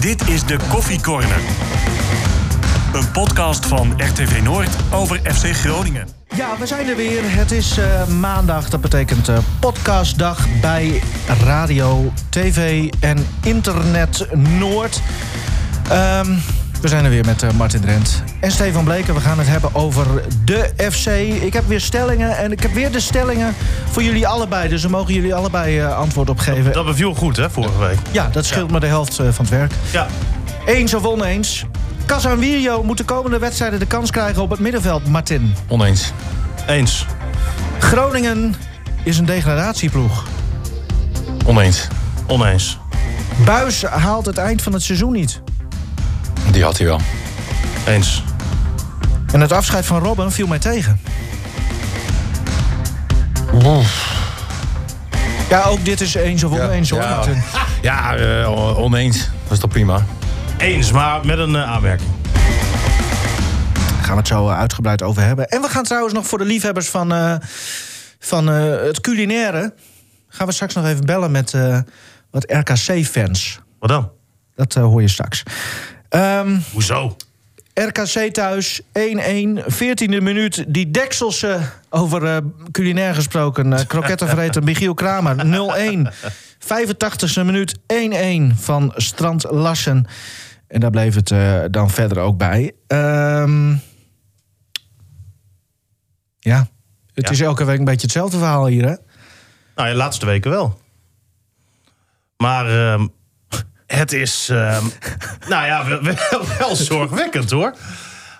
Dit is de Koffie Corner. Een podcast van RTV Noord over FC Groningen. Ja, we zijn er weer. Het is eh, maandag. Dat betekent eh, podcastdag bij radio, tv en internet Noord. Ehm, we zijn er weer met eh, Martin Drent en Stefan Bleken. We gaan het hebben over de FC. Ik heb weer stellingen en ik heb weer de stellingen voor jullie allebei. Dus daar mogen jullie allebei eh, antwoord op geven. Dat beviel goed, hè, vorige week. Ja, dat scheelt maar de helft eh, van het werk. Ja. Eens of oneens. Casanvirio moet de komende wedstrijden de kans krijgen op het middenveld, Martin. Oneens. Eens. Groningen is een degradatieploeg. Oneens. Oneens. Buis haalt het eind van het seizoen niet. Die had hij wel. Eens. En het afscheid van Robben viel mij tegen. Ja, ook dit is eens of Ja, oneens hoor. ja. Martin. Ja, eh, oneens. Dat is toch prima? Eens, maar met een eh, aanmerking. Daar gaan we het zo eh, uitgebreid over hebben. En we gaan trouwens nog voor de liefhebbers van, eh, van eh, het culinaire... gaan we straks nog even bellen met eh, wat RKC-fans. Wat dan? Dat eh, hoor je straks. Ehm, Hoezo? RKC thuis, 1-1, 14e minuut. Die Dekselse, over eh, culinair gesproken, eh krokettenvreter Michiel Kramer, 0-1. 85e minuut, 1-1 van Strand Lassen. En daar bleef het eh, dan verder ook bij. Ehm, ja, het Ja. is elke week een beetje hetzelfde verhaal hier, hè? Nou ja, laatste weken wel. Maar ehm, het is, ehm, nou ja, wel, wel- wel zorgwekkend hoor.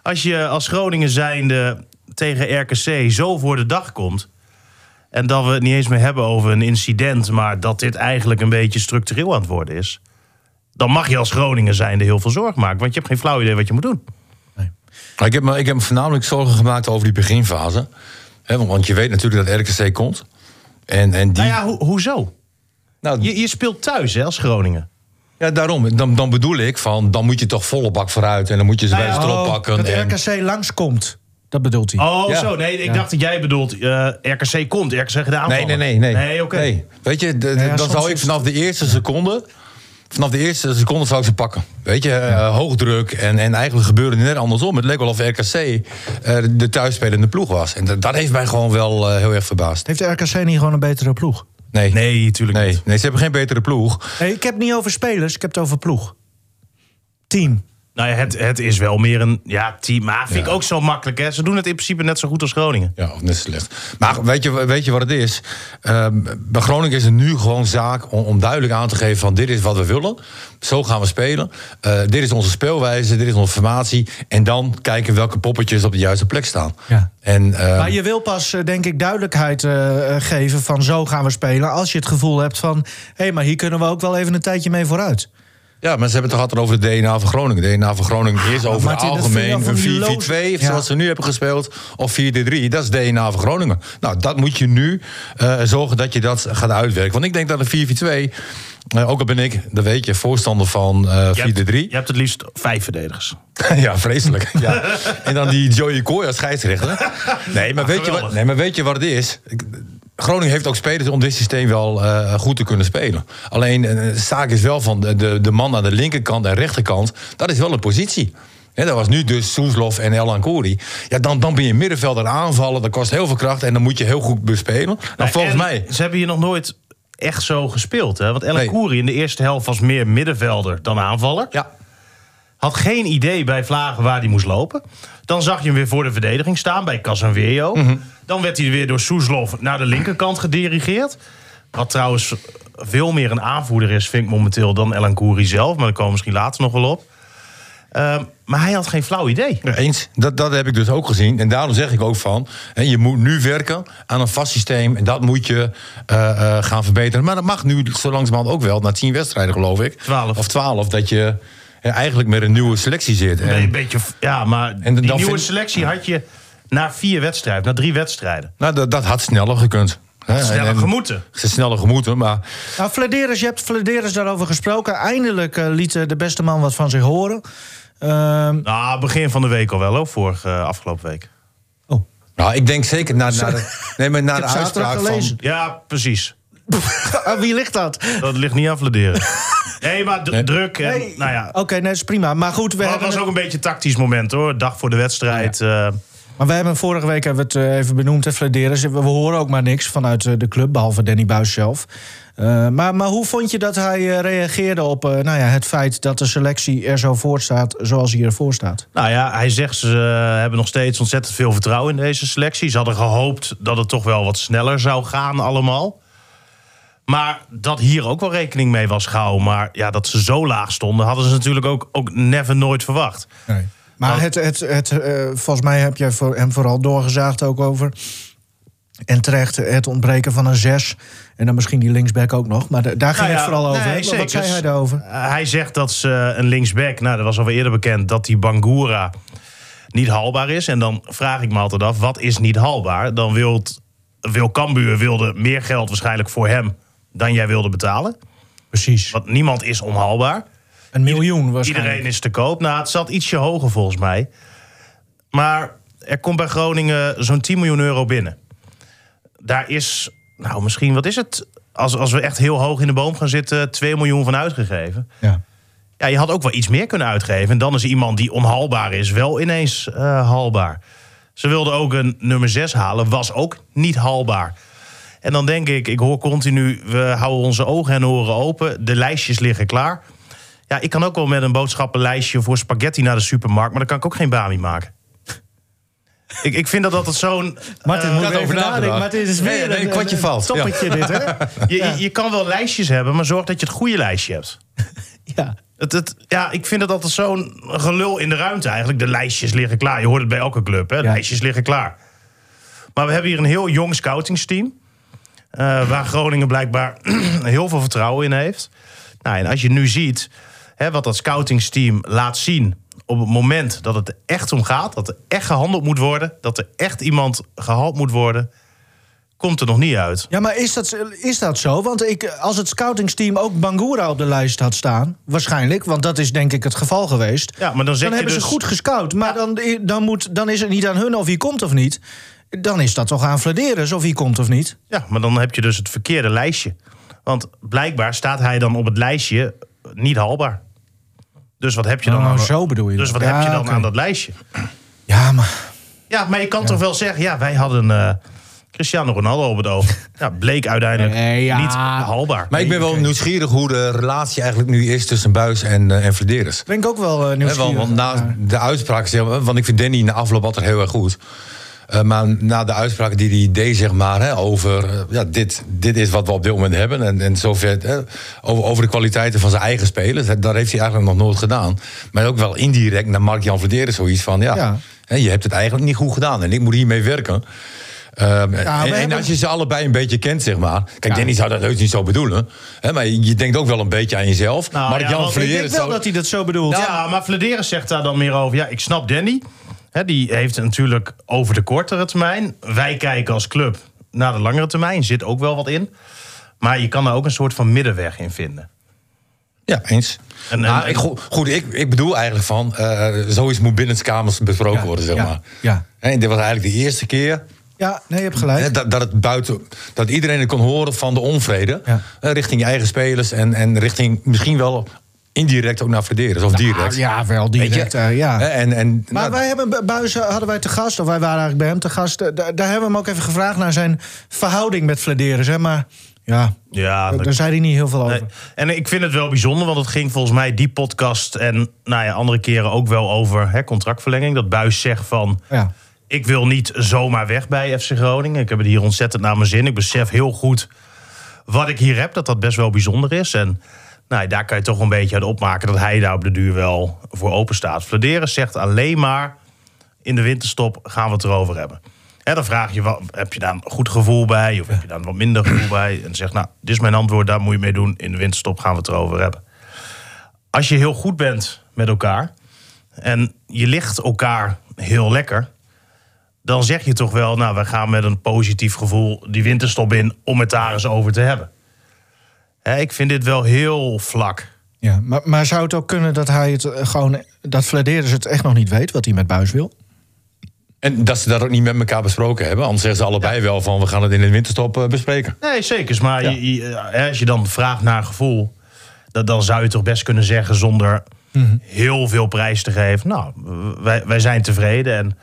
Als je als Groningen zijnde tegen RKC zo voor de dag komt... en dat we het niet eens meer hebben over een incident... maar dat dit eigenlijk een beetje structureel aan het worden is... dan mag je als Groningen zijnde heel veel zorg maken... want je hebt geen flauw idee wat je moet doen. Maar Ik heb, me, ik heb me voornamelijk zorgen gemaakt over die beginfase. Hè, want, want je weet natuurlijk dat RKC komt. En, en die... Nou ja, ho- hoezo? Nou, Je, je speelt thuis hè, als Groningen. ja, daarom. Dan, dan bedoel ik van, dan moet je toch volle bak vooruit. En dan moet je ze Nou bij ja, de strop Oh, pakken. dat en- RKC langskomt, dat bedoelt hij. Oh, Ja. zo. Nee, ik dacht dat jij bedoelt eh, RKC komt. RKC gaat aanvallen. Nee, nee, nee. Nee, Nee, oké. Nee. Weet je, de- ja, dan soms zou ik is- vanaf de eerste seconde... Vanaf de eerste seconde zou ik ze pakken. Weet je, eh, hoogdruk en, en eigenlijk gebeurde het net andersom. Het leek wel of RKC eh, de thuisspelende ploeg was. En dat, dat heeft mij gewoon wel eh, heel erg verbaasd. Heeft RKC niet gewoon een betere ploeg? Nee, nee, Nee, tuurlijk nee, niet. ze hebben geen betere ploeg. Nee, ik heb het niet over spelers, ik heb het over ploeg. Team. Nou ja, het, het is wel meer een ja, team. Maar vind ik Ja. ook zo makkelijk. Hè. Ze doen het in principe net zo goed als Groningen. Ja, of net slecht. Maar weet je, weet je wat het is? Ehm, bij Groningen is het nu gewoon zaak om, om duidelijk aan te geven van... dit is wat we willen, zo gaan we spelen. Eh, dit is onze speelwijze, dit is onze formatie. En dan kijken welke poppetjes op de juiste plek staan. Ja. En, ehm, Maar je wil pas, eh, denk ik, duidelijkheid eh, eh, geven van zo gaan we spelen. Als je het gevoel hebt van, hé, maar hier kunnen we ook wel even een tijdje mee vooruit. Ja, maar ze hebben het gehad over de DNA van Groningen. De DNA van Groningen is over het Ah, Martin, dat vind ik algemeen wel een van die 4-4-2... loze- of Ja. zoals ze nu hebben gespeeld, of 4-3. Dat is DNA van Groningen. Nou, dat moet je nu eh, zorgen dat je dat gaat uitwerken. Want ik denk dat een 4-4-2... eh, ook al ben ik, dat weet je, voorstander van eh, Je hebt, 4-3. je hebt het liefst vijf verdedigers. Nou, Ja, vreselijk. Ja. En dan die Joey Kooi als scheidsrechter. Nee, maar, weet je wat, geweldig. nee, maar weet je wat het is? Ik- Groningen heeft ook spelers om dit systeem wel eh, goed te kunnen spelen. Alleen eh, de zaak is wel van de, de, de man aan de linkerkant en rechterkant. Dat is wel een positie. Hè, dat was nu dus Soeslof en El Ancori. Ja, dan, dan ben je middenvelder aanvallen. Dat kost heel veel kracht en dan moet je heel goed bespelen. Nou, volgens En mij... Ze hebben hier nog nooit echt zo gespeeld. Hè? Want Ellen Nee. Koeri in de eerste helft was meer middenvelder dan aanvaller. Ja, Had geen idee bij Vlagen waar hij moest lopen. Dan zag je hem weer voor de verdediging staan bij Casanverio. Mhm. Dan werd hij weer door Soeslof naar de linkerkant gedirigeerd. Wat trouwens veel meer een aanvoerder is, vind ik momenteel, dan Elan Koeri zelf. Maar daar komen we misschien later nog wel op. Ehm, maar hij had geen flauw idee. Eens, dat, dat heb ik dus ook gezien. En daarom zeg ik ook van, hè, je moet nu werken aan een vast systeem. En dat moet je eh, eh, gaan verbeteren. Maar dat mag nu zo langzamerhand ook wel, na tien wedstrijden geloof ik. 12. Of twaalf, dat je eh, eigenlijk met een nieuwe selectie zit. En, Een beetje, ja, maar En die dan nieuwe vind- selectie had je na vier wedstrijden, na drie wedstrijden. nou, dat, dat had sneller gekund. Hè, Sneller en- en- gemoeten. Ze Sneller gemoeten, maar Nou, Flederis, je hebt Flederis daarover gesproken. Eindelijk eh, liet eh, de beste man wat van zich horen. Ehm, Nou, begin van de week al wel, hoor, vorige eh, afgelopen week. oh, nou, ik denk zeker na, na de, nee, maar na de heb zaterdag uitspraak van... gelezen. Ja, precies. aan wie ligt dat? Dat ligt niet aan Vladeren. Nee, maar d- Nee. druk. En, Nou ja, Oké, nee, dat is prima. Maar goed, we maar het hebben was ook een beetje een tactisch moment hoor. Dag voor de wedstrijd. eh. Maar wij hebben vorige week hebben we het eh, even benoemd, hè, Flederis. We, we horen ook maar niks vanuit eh, de club, behalve Danny Buis zelf. Eh, maar, maar hoe vond je dat hij eh, reageerde op eh, nou ja, het feit dat de selectie er zo voor staat zoals hij ervoor staat? Nou ja, hij zegt ze eh, hebben nog steeds ontzettend veel vertrouwen in deze selectie. Ze hadden gehoopt dat het toch wel wat sneller zou gaan allemaal. Maar dat hier ook wel rekening mee was gehouden. Maar ja, dat ze zo laag stonden, hadden ze natuurlijk ook, ook never nooit verwacht. Maar Nou, het, het, het, eh, volgens mij heb jij voor hem vooral doorgezaagd ook over. En terecht het ontbreken van een zes. En dan misschien die linksback ook nog. Maar da- daar ging Nou ja, het vooral over. nee, hè? Wat- zeker. Wat zei hij daarover? Uh, hij zegt dat ze een linksback, nou dat was alweer eerder bekend, dat die Bangura niet haalbaar is. En dan vraag ik me altijd af, wat is niet haalbaar? Dan wil, wil Cambuur wilde meer geld waarschijnlijk voor hem dan jij wilde betalen. Precies. Want niemand is onhaalbaar. Een miljoen waarschijnlijk. Iedereen is te koop. Nou, het zat ietsje hoger volgens mij. Maar er komt bij Groningen zo'n 10 miljoen euro binnen. Daar is, nou misschien, wat is het? Als, als we echt heel hoog in de boom gaan zitten, 2 miljoen van uitgegeven. Ja. Ja, je had ook wel iets meer kunnen uitgeven. En dan is iemand die onhaalbaar is, wel ineens eh, haalbaar. Ze wilden ook een nummer 6 halen, was ook niet haalbaar. En dan denk ik, ik hoor continu, we houden onze ogen en oren open. De lijstjes liggen klaar. Ja, ik kan ook wel met een boodschappenlijstje voor spaghetti naar de supermarkt, maar dan kan ik ook geen bami maken. ik, ik vind dat altijd zo'n. Martin, eh, moet had er even over nagedacht. nadenken. Martin, het is Nee, weer eh, nee, een kwartje valt. toppetje dit, hè? je, je- je kan wel lijstjes hebben, maar zorg dat je het goede lijstje hebt. Ja. Het, het, ja, ik vind het altijd zo'n gelul in de ruimte eigenlijk. De lijstjes liggen klaar. Je hoort het bij elke club, hè? Lijstjes liggen klaar. Maar we hebben hier een heel jong scoutingsteam. eh, waar Groningen blijkbaar heel veel vertrouwen in heeft. Nou, en als je nu ziet hè, wat dat scoutingsteam laat zien. op het moment dat het er echt om gaat. dat er echt gehandeld moet worden. dat er echt iemand gehaald moet worden. komt er nog niet uit. Ja, maar is dat, is dat zo? Want ik, als het scoutingsteam ook Bangura op de lijst had staan, waarschijnlijk, want dat is denk ik het geval geweest. Ja, maar dan zeg dan je hebben dus- ze goed gescout, maar dan, dan, moet, dan is het niet aan hun of hij komt of niet. Dan is dat toch aan Vladeres of hij komt of niet. Ja, maar dan heb je dus het verkeerde lijstje. Want blijkbaar staat hij dan op het lijstje niet haalbaar. Dus wat heb je dan Oh, aan zo bedoel je Dus dat. wat Ja, heb je dan oké. aan dat lijstje? Ja, maar. Ja, maar je kan toch wel zeggen, ja, wij hadden eh, Cristiano Ronaldo op het oog. Ja, bleek uiteindelijk Nee, ja. niet haalbaar. Maar ik ben wel nieuwsgierig hoe de relatie eigenlijk nu is tussen Buis en, eh, en Flederis. Ben ik ook wel eh, Hè, nieuwsgierig. want, want na de uitspraak, zeg maar, want ik vind Danny in de afloop altijd heel erg goed. Eh, maar na de uitspraak die hij deed, zeg maar, hè, over eh, ja, dit, dit is wat we op dit moment hebben. En, en zover, hè, over, over de kwaliteiten van zijn eigen spelers. hè, Daar heeft hij eigenlijk nog nooit gedaan. Maar ook wel indirect naar Mark-Jan Verderen zoiets van, ja, Ja. Hè, je hebt het eigenlijk niet goed gedaan. En ik moet hiermee werken. Ehm, en, en hebben- als je ze allebei een beetje kent, zeg maar. Kijk, Danny zou dat heus niet zo bedoelen. Hè, maar je denkt ook wel een beetje aan jezelf. Nou, Mark-Jan ja, want ik ik Verderens denk wel zou- dat hij dat zo bedoelt. Ja, maar Vladeres zegt daar dan meer over. Ja, ik snap Danny. Hè, die heeft natuurlijk over de kortere termijn. Wij kijken als club naar de langere termijn. Zit ook wel wat in. Maar je kan daar ook een soort van middenweg in vinden. Ja, eens. En- maar en- ik, go- goed, ik, ik bedoel eigenlijk van, eh, zoiets moet binnenskamers besproken worden, zeg ja, maar. ja. En dit was eigenlijk de eerste keer Ja, nee, je hebt hè, gelijk. dat, dat, het buiten, dat iedereen het kon horen van de onvrede. Ja. eh, richting je eigen spelers en, en richting misschien wel indirect ook naar Frederis. Of direct. Ah, ja, wel Weet je? direct. eh, ja. Hè, En, en, Maar nou, wij hebben Bu- Buizen hadden wij te gast, of wij waren eigenlijk bij hem te gast. eh, Daar, daar hebben we hem ook even gevraagd naar zijn verhouding met Vladeres. Hè? Maar ja, dus- Ja, daar- dat- daar zei hij niet heel veel over. Nee. En ik vind het wel bijzonder, want het ging volgens mij die podcast en nou ja, andere keren ook wel over hè, contractverlenging. Dat Buis zegt van, Ja. ik wil niet zomaar weg bij FC Groningen. Ik heb het hier ontzettend naar mijn zin. Ik besef heel goed wat ik hier heb, dat dat best wel bijzonder is. En nou, ja, daar kan je toch een beetje uit opmaken dat hij daar op de duur wel voor open staat. Fladeren zegt alleen maar, in de winterstop gaan we het erover hebben. En dan vraag je, wat, heb je daar een goed gevoel bij? Of heb je daar een wat minder gevoel bij? En zegt, nou, dit is mijn antwoord, daar moet je mee doen. In de winterstop gaan we het erover hebben. Als je heel goed bent met elkaar en je ligt elkaar heel lekker... dan zeg je toch wel, nou, we gaan met een positief gevoel die winterstop in... om het daar eens over te hebben. Hè, ik vind dit wel heel vlak. Ja, maar, maar zou het ook kunnen dat hij het eh, gewoon. dat Vladeres het echt nog niet weet wat hij met Buis wil? en dat ze dat ook niet met elkaar besproken hebben. Anders zeggen ze allebei wel van, we gaan het in de winterstop eh, bespreken. Nee, zeker. Maar je- je- eh, als je dan vraagt naar gevoel. Dat, dan zou je toch best kunnen zeggen zonder Mhm. heel veel prijs te geven. Nou, wij, wij zijn tevreden en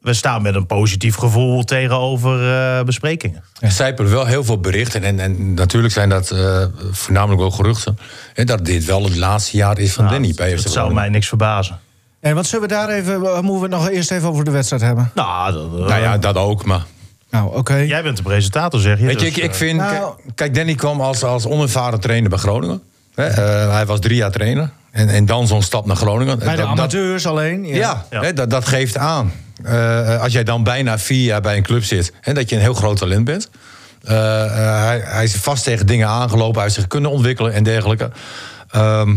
we staan met een positief gevoel tegenover eh, besprekingen. Er sijpelen wel heel veel berichten. En, en natuurlijk zijn dat eh, voornamelijk ook geruchten. Hè, dat dit wel het laatste jaar is van Danny bij Nou, dat FC zou Groningen. mij niks verbazen. En wat zullen we daar even, eh, moeten we het nog eerst even over de wedstrijd hebben? Nou, dat- Nou ja, dat ook, maar... Nou, oké. jij bent de presentator, zeg je. Weet je, dus, ik, ik eh, vind... Nou- kijk- Kijk, Danny kwam als, als onervaren trainer bij Groningen. Hè, eh, hij was drie jaar trainer. En, en dan zo'n stap naar Groningen. Bij de Dat- dat- amateurs alleen. Ja. Ja, Ja. Hè, dat, dat geeft aan. Eh, als jij dan bijna vier jaar bij een club zit en dat je een heel groot talent bent. Eh, eh, hij, hij is vast tegen dingen aangelopen, hij heeft zich kunnen ontwikkelen en dergelijke. Ehm,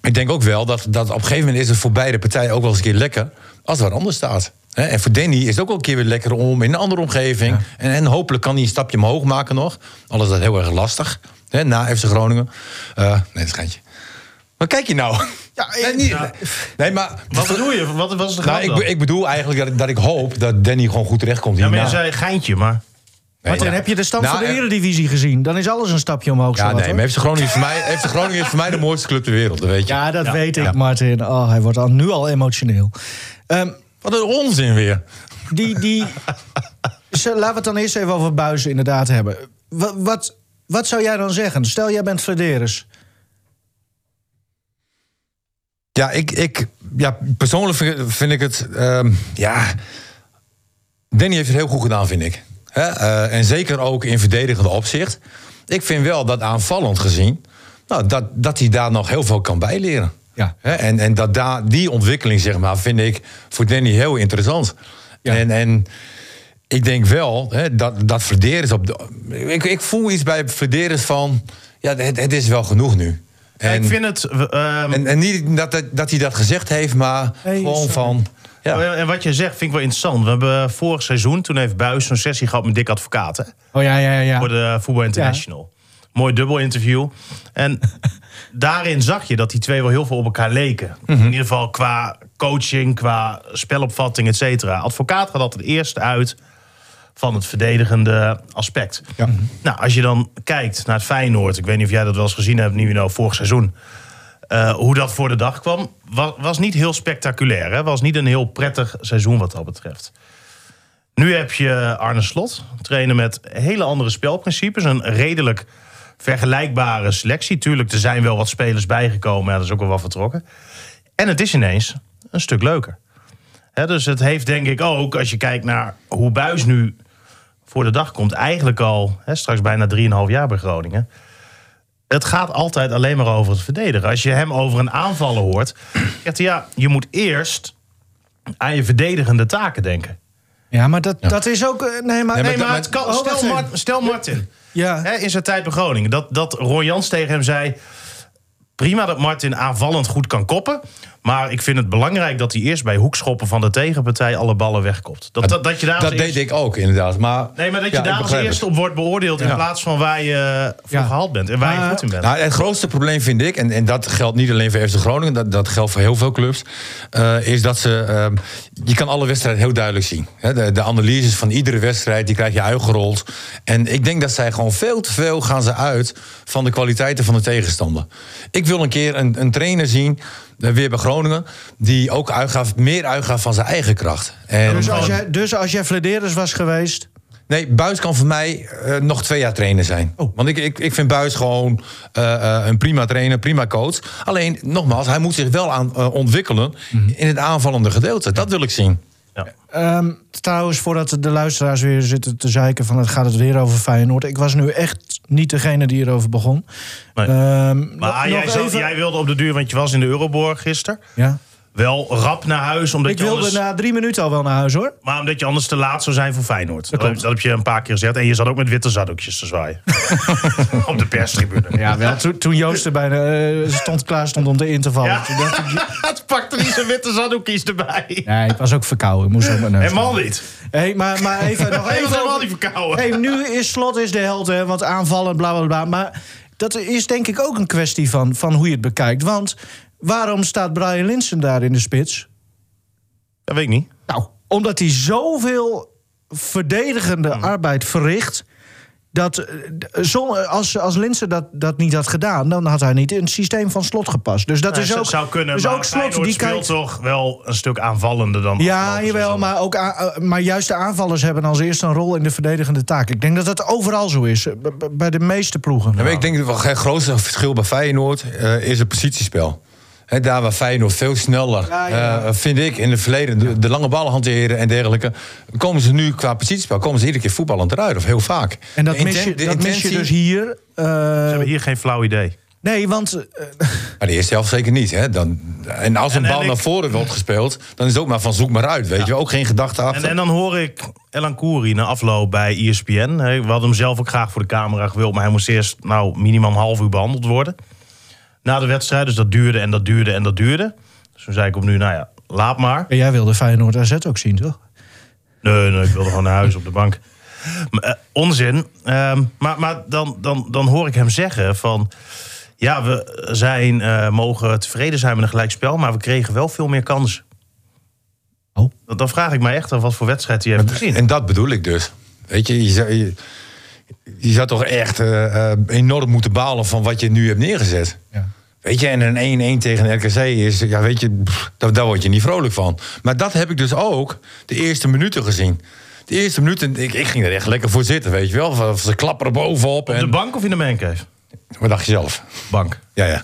ik denk ook wel dat, dat op een gegeven moment is het voor beide partijen ook wel eens een keer lekker als er wat anders staat. Hè, en voor Danny is het ook wel een keer weer lekker om in een andere omgeving. En, en hopelijk kan hij een stapje omhoog maken nog. Al is dat heel erg lastig. Hè, na FC Groningen. Eh nee, schijntje. Wat kijk je nou? Ja, nee, nee, maar Wat bedoel je? Wat was de grap nou, ik, dan? be- ik bedoel eigenlijk dat ik, dat ik hoop dat Danny gewoon goed terechtkomt ja, hierna. maar jij zei geintje, maar... Nee, Maar dan ja. heb je de stand Nou, van de en- Eredivisie gezien. Dan is alles een stapje omhoog. Ja, zowat, nee, hoor. maar heeft Groningen, is voor mij, heeft Groningen is voor mij de mooiste club ter wereld, dat weet je. ja dat Ja, weet ik, ja. Martin. Oh, hij wordt al, nu al emotioneel. Ehm, Wat een onzin weer. die, die... Zo, Laten we het dan eerst even over buizen inderdaad hebben. Wat, wat, wat zou jij dan zeggen? Stel, jij bent Frederis. Ja, ik, ik, ja persoonlijk vind, vind ik het... ehm, ja, Danny heeft het heel goed gedaan, vind ik. Hè, eh, en zeker ook in verdedigende opzicht. Ik vind wel dat aanvallend gezien... Nou, dat, dat hij daar nog heel veel kan bijleren. Ja. Hè, en en dat daar, die ontwikkeling, zeg maar, vind ik voor Danny heel interessant. Ja. En, en ik denk wel hè, dat, dat Verderes op de. Ik, ik voel iets bij Verderes van. Ja, het, het is wel genoeg nu. En, ik vind het... eh, ehm, en, en niet dat, dat, dat hij dat gezegd heeft, maar Nee, gewoon sorry. van. Ja. Oh ja, En wat je zegt vind ik wel interessant. We hebben eh, vorig seizoen, toen heeft Buis zo'n sessie gehad met Dick Advocaat. Hè, Oh ja, ja, ja. Voor de Voetbal International. Mooi dubbel interview. En daarin zag je dat die twee wel heel veel op elkaar leken. In ieder geval qua coaching, qua spelopvatting, et cetera. Advocaat gaat altijd eerst uit van het verdedigende aspect. Nou, als je dan kijkt naar het Feyenoord... ik weet niet of jij dat wel eens gezien hebt, Nivino, vorig seizoen... eh, hoe dat voor de dag kwam, was, was niet heel spectaculair. Het was niet een heel prettig seizoen wat dat betreft. Nu heb je Arne Slot, trainen met hele andere spelprincipes. Een redelijk vergelijkbare selectie. Tuurlijk, er zijn wel wat spelers bijgekomen. Ja, dat is ook wel wat vertrokken. En het is ineens een stuk leuker. Hè, dus het heeft denk ik ook, als je kijkt naar hoe Buis nu voor de dag komt... eigenlijk al hè, straks bijna 3,5 jaar bij Groningen... Het gaat altijd alleen maar over het verdedigen. Als je hem over een aanvallen hoort, zegt hij ja, je moet eerst aan je verdedigende taken denken. Ja, maar dat, dat is ook... eh, Nee, maar... Nee, Nee, maar- maar het maar- kan, Oh, wacht stel, even. Mart- stel Martin. Ja. Hè, in zijn tijd bij Groningen. Dat, dat Roy Jans tegen hem zei... prima dat Martin aanvallend goed kan koppen... maar ik vind het belangrijk dat hij eerst bij hoekschoppen... van de tegenpartij alle ballen wegkopt. Dat, dat, dat je daar dat als eerst- deed ik ook, inderdaad. Maar, Nee, maar dat je ja, ik daar als begrijp eerste het. op wordt beoordeeld... in Ja. plaats van waar je eh, voor Ja. gehaald bent en waar je Maar- goed in bent. Nou, het grootste probleem vind ik, en, en dat geldt niet alleen voor FC Groningen, dat, dat geldt voor heel veel clubs, eh, is dat ze. ehm, je kan alle wedstrijden heel duidelijk zien. Hè, de, de analyses van iedere wedstrijd, die krijg je uitgerold. En ik denk dat zij gewoon veel te veel gaan ze uit van de kwaliteiten van de tegenstander. Ik wil een keer een, een trainer zien, eh, weer bij Groningen, die ook uitgaat, meer uitgaat van zijn eigen kracht. En, Dus als, jij, dus als jij Flederis was geweest... Nee, Buis kan voor mij eh, nog twee jaar trainer zijn. Oh. Want ik, ik, ik vind Buis gewoon eh, eh, een prima trainer, prima coach. Alleen, nogmaals, hij moet zich wel aan eh, ontwikkelen Mhm. in het aanvallende gedeelte. Dat wil ik zien. Ja. Ehm, trouwens, voordat de luisteraars weer zitten te zeiken van het gaat het weer over Feyenoord. Ik was nu echt niet degene die erover begon. Nee. Ehm, Maar nog jij, zat- even- jij wilde op de duur, want je was in de Euroborg gisteren... Ja. wel rap naar huis, omdat Ik je wilde anders... na drie minuten al wel naar huis hoor. Maar omdat je anders te laat zou zijn voor Feyenoord. Dat, heb, dat heb je een paar keer gezegd. En je zat ook met witte zaddoekjes te zwaaien. Op de perstribune. Ja, wel. Toen, toen Joost er bijna eh, stond klaar stond om erin te vallen. Ja. Toen dacht ik, het pakte niet zijn witte zaddoekjes erbij. nee, ik was ook verkouden. Ik moest ook mijn neus. Helemaal niet. Hey, maar, maar even nog Hij was even. helemaal over- niet verkouden. Hey, nu is slot is de held, hè, want aanvallen, bla bla bla. Maar dat is denk ik ook een kwestie van, van hoe je het bekijkt. Want waarom staat Brian Linsen daar in de spits? Dat weet ik niet. Hmm. Nou, omdat hij zoveel verdedigende arbeid verricht. dat eh, d- zon- als, als Linse dat, dat niet had gedaan, dan had hij niet in het systeem van slot gepast. Dus dat Nee, is ook, zou kunnen, dus maar ook slot Feyenoord die speelt kijkt. toch wel een stuk aanvallender dan... Ja, afgelopen jawel, seizoen. maar, ook a- eh, maar juist de aanvallers hebben als eerste een rol in de verdedigende taak. Ik denk dat dat overal zo is, eh, b- b- bij de meeste ploegen. Ja, maar ik denk dat wel het grootste verschil bij Feyenoord eh, is het positiespel. Hè, daar waar Feyenoord veel sneller, Ja, ja. eh, vind ik, in het verleden de, de lange ballen hanteren en dergelijke. Komen ze nu qua positiespel, komen ze iedere keer voetballend eruit, of heel vaak. en dat, De mis je, inten- de dat mis je intentie- dus hier. eh, We hebben hier geen flauw idee. nee, want eh, Maar de eerste helft zeker niet. Hè? Dan, en als een En- en bal ik- naar voren wordt gespeeld, dan is het ook maar van zoek maar uit. Weet je, ook geen gedachte achter. En, en dan hoor ik Elan Kouri na afloop bij E ESPN. Hey, We hadden hem zelf ook graag voor de camera gewild, maar hij moest eerst nou, minimaal een half uur behandeld worden. Na de wedstrijd, dus dat duurde en dat duurde en dat duurde. Dus toen zei ik opnieuw, nou ja, laat maar. jij wilde Feyenoord AZ ook zien, toch? Nee, nee, ik wilde gewoon naar huis op de bank. Maar, eh, onzin. Ehm, maar maar dan, dan, dan hoor ik hem zeggen van... Ja, we zijn, eh, mogen tevreden zijn met een gelijkspel... maar we kregen wel veel meer kansen. Oh. Dan, dan vraag ik mij echt af wat voor wedstrijd hij heeft gezien. dus- En dat bedoel ik dus. Weet je, je zou, je, je zou toch echt eh, eh, enorm moeten balen van wat je nu hebt neergezet. Ja. Weet je, en een 1-1 tegen RKC is, ja, weet je, pff, daar, daar word je niet vrolijk van. Maar dat heb ik dus ook de eerste minuten gezien. De eerste minuten, ik, ik ging er echt lekker voor zitten, weet je wel. Van- Ze klapperen bovenop. Op de En, bank of in de mancave? wat dacht je zelf? Bank. Ja, ja.